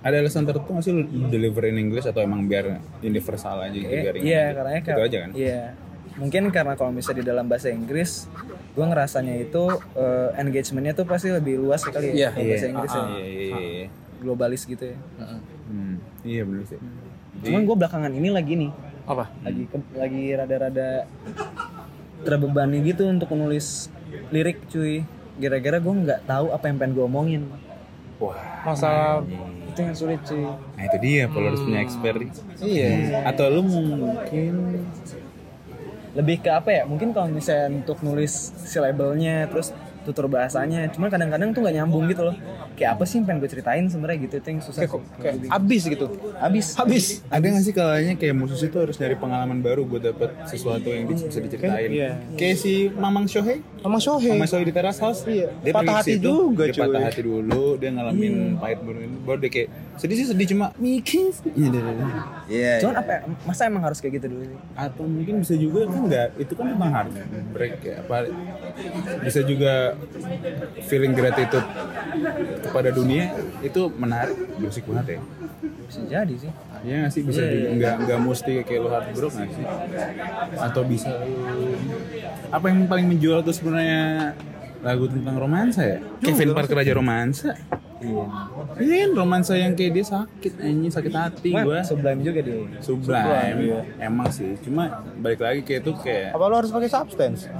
ada alasan tertentu nggak sih lu deliver in English atau emang biar universal aja gitu biar Iya, English? iya karena Gitu aja kan Iya. Mungkin karena kalau misalnya di dalam bahasa Inggris, gue ngerasanya itu eh, engagementnya tuh pasti lebih luas kali ya kalau bahasa Inggris ya, iya iya iya globalis gitu ya. Hmm, iya bener sih Cuman gue belakangan ini lagi nih, Hmm. apa lagi ke- lagi rada-rada terbebani gitu untuk menulis lirik cuy. Gara-gara gue nggak tahu apa yang pengen gue omongin. wah masalah Itu yang sulit cuy. nah itu dia kalau harus punya expert iya atau lu mungkin Lebih ke apa ya? Mungkin kalau misalnya untuk nulis silabelnya terus tutur bahasanya, cuman kadang-kadang tuh nggak nyambung gitu loh. Kayak apa sih yang pengen gue ceritain sebenarnya gitu itu yang susah. sih. kayak abis gitu Abis. abis ada nggak sih kalanya kayak musisi tuh harus nyari pengalaman baru buat dapet sesuatu yang bisa diceritain Iya. kayak si Mamang Shohei sama Shohei Mamang Shohei di teras house Iya. dia Patah pergi ke hati situ, juga, dia cuy. Iya. patah hati dulu dia ngalamin pahit burung ini baru dia kayak sedih sih sedih cuma mikir iya iya, iya Cuman apa ya, masa emang harus kayak gitu dulu sih? atau mungkin bisa juga kan enggak itu kan memang hard break ya apa bisa juga feeling gratitude kepada dunia itu menarik musik banget ya Bisa jadi sih. Iya nggak sih bisa juga nggak nggak mesti kayak lo heartbroken nggak sih atau bisa lu- apa yang paling menjual tuh sebenarnya lagu tentang romansa ya Kevin Parker aja romansa iya kan romansa yang kayak dia sakit anjing sakit hati Cuman gua sublime juga dia. sublime iya. emang sih cuma balik lagi kayak itu kayak apa lo harus pakai substance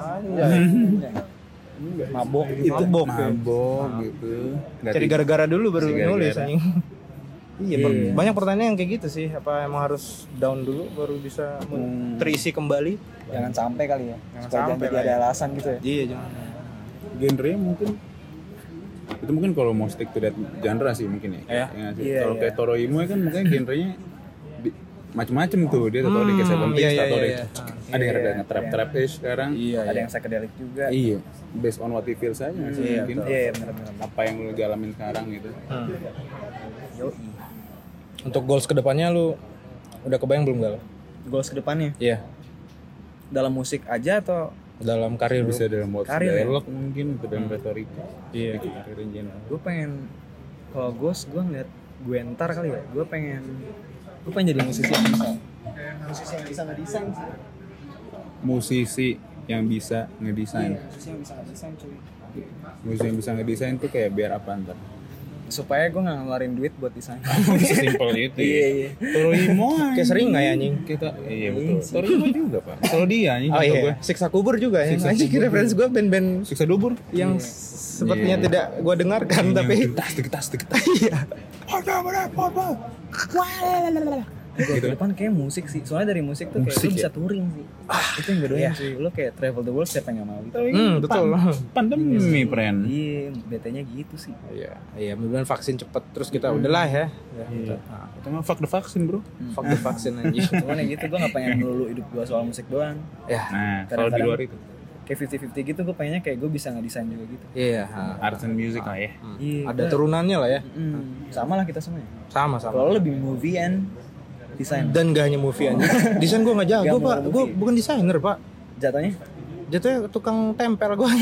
Mabok itu mabok, gitu Nggak cari tidur. gara-gara dulu baru Cari gara-gara. nulis anjing iya ba- banyak pertanyaan yang kayak gitu sih apa emang harus down dulu baru bisa men- terisi kembali jangan sampai kali ya. Supaya jangan jadi ada alasan gitu ya. iya jangan genre mungkin itu mungkin kalau mau stick to that genre sih mungkin ya. Iya. nggak sih? Iya, kalau iya. kayak Toro Imo kan mungkin genrenya di- macem-macem tuh dia tahu di Hmm, kayak Seventeen, iya, iya, tahu di iya. ada yang ada trap trap ish sekarang. Iya, ada yang psychedelic juga Iya, based on what you feel saja nggak sih iya mungkin. betul. iya iya, bener bener Apa yang lu jalanin sekarang gitu. Hmm. Yoi. Untuk goals kedepannya lu udah kebayang belum gal? goals kedepannya Iya. dalam musik aja atau Dalam karir lu. Bisa dalam buat Karir ya? dialog mungkin atau dalam retorika. gitu, Iya. Bikin Karir in general. gue pengen kalau goals gue ngeliat gue ntar kali ya gue pengen gue pengen jadi musisi yang bisa musisi yang bisa ngedesain sih Musisi yang bisa ngedesain. musisi yang bisa ngedesain cuy Musisi yang bisa ngedesain tuh kayak biar apa ntar? supaya gue nggak ngeluarin duit buat desain Sesimpel itu. iya iya Torimo Kayak sering nggak ya anjing? kita iya betul Torimo juga pak kalau dia anjing Oh contoh iya, siksa kubur juga ya. Siksa Anjing kubur. referensi gue band-band gue siksa dubur yang sepertinya Iya. tidak gue dengarkan Iya, kan, tapi degetas degetas degetas Gue ke depan kayak musik sih soalnya dari musik tuh kayak Musik lu ya? bisa touring sih itu yang gue doain sih lu kayak travel the world siapa yang nggak mau gitu hmm, betul. pandemi friend iya betanya gitu sih Iya, iya mudah-mudahan vaksin cepet terus kita udahlah ya. Iya. itu mah fuck the vaksin bro Fuck the vaksin anjing. cuman yang gitu gue nggak pengen melulu hidup gue soal musik doang ya, nah kalau di Kadang-kadang- luar itu kayak 50-50 gitu gue pengennya kayak gue bisa ngedesain juga gitu iya. ha. arts and music lah ya iya Ada gua- turunannya lah ya. Mm, sama lah kita semua ya. Sama sama. kalau lu lebih movie and desain Dan gak hanya movie anjing. Desain gue nggak jago Nggak mau pak. Gue movie. bukan desainer pak. jatuhnya Jatuhnya tukang tempel gue.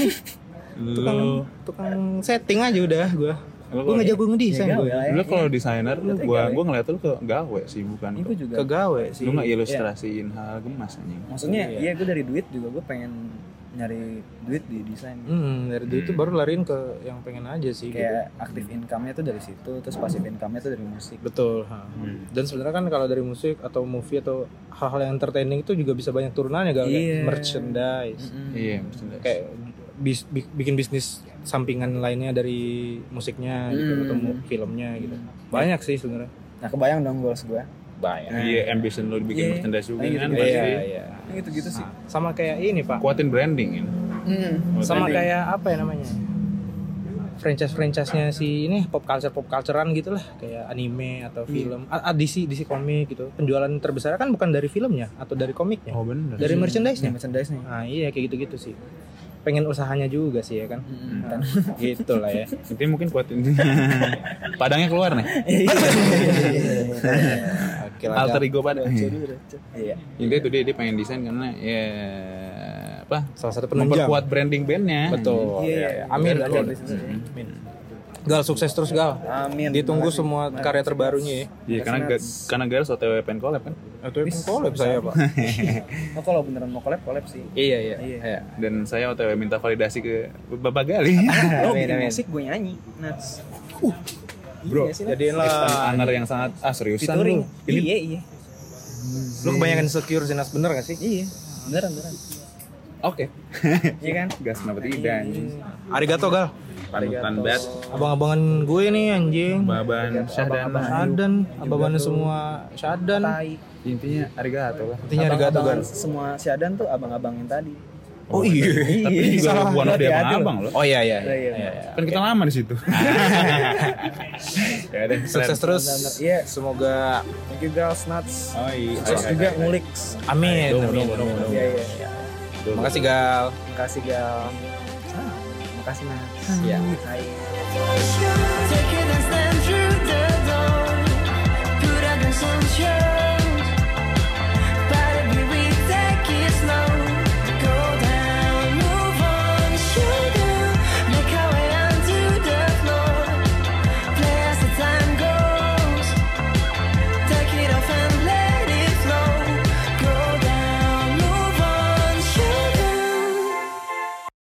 tukang lu tukang setting aja udah gue. Lu Gue nggak jago ngedesain gawe gue. lah lu kalau desainer lu Katanya gua gawe. gua ngeliat lu ke gawe sih bukan ini ke gue juga Ke gawe sih. lu nggak ilustrasiin hal gemas anjing maksudnya iya gue dari duit juga gue pengen nyari duit di desain Hmm, dari itu baru lariin ke yang pengen aja sih. gitu. kayak aktif income-nya tuh dari situ terus pasif income-nya tuh dari musik Betul. ha. Hmm. Dan sebenarnya kan kalau dari musik atau movie atau hal-hal yang entertaining itu juga bisa banyak turunannya gal Iya. kayak merchandise. iya merchandise. Kayak bis- bi- bikin bisnis sampingan lainnya dari musiknya gitu Hmm. atau mu- filmnya gitu. Banyak sih sebenarnya. nah kebayang dong goals gue Banyak. iya ambition lu dibikin Iya. merchandise juga Iya, kan gitu. pasti. Iya, iya. gitu gitu sih Nah, sama kayak ini, Pak. kuatin branding kan Sama kayak apa ya namanya? franchise-franchise-nya si ini pop culture pop culturean gitu lah kayak anime atau Hmm. film A- adisi DC komik gitu penjualan terbesar kan bukan dari filmnya atau dari komiknya oh bener dari merchandise-nya. Ini merchandise nih Nah, iya kayak gitu-gitu sih. Pengen usahanya juga sih ya kan. Hmm. Mm-mm. gitu lah ya. Intinya mungkin kuatin padangnya keluar nih Oke lah. alter ego pada iya Intinya tuh dia, dia pengen desain karena ya apa Salah satu penunjang. memperkuat branding bandnya. Betul. Iya, iya. Amin. Biar ada Gal. bisnisnya. Gal sukses terus Gal. amin Ditunggu Makasih. semua karya terbarunya ya. Iya karena ga, karena garis OTW pengen collab kan Atau yang collab saya, Pak. oh, kalau beneran mau collab collab sih iya, iya. Iya. dan saya OTW minta validasi ke Bapak Gali. Ya, lo Amin, bikin amin. Uh, musik gue nyanyi nuts Iya Bro, jadiin lah honor yang sangat ah seriusan touring lu. Ini iya iya Lu kebanyakan secure sinas bener gak sih? iya beneran beneran oke. iya kan Gas kenapa tidak anjing. Arigato Gal. Panutan bat, Abang-abangan gue nih anjing. baban, syahdan. Shadan, abang-abangan semua Shadan. tai Intinya arigato lah. Intinya Arigato Gal. Abang-abangan semua siadan tuh abang-abangin tadi Oh iya. Tapi juga Salah. bukan ada yang Hati-hati abang loh. Oh iya iya. Iya, iya. Kan kita lama di situ. ya deh. Sukses keren. terus. Benar-benar. Iya. Semoga thank you girls nuts Oh iya. terus Ayo, juga ayo. ngulik amin. Domo, amin. domo, domo, domo. iya iya iya Makasih Gal. makasih gal Ah, makasih nuts Iya. Hai. Take it and stand true.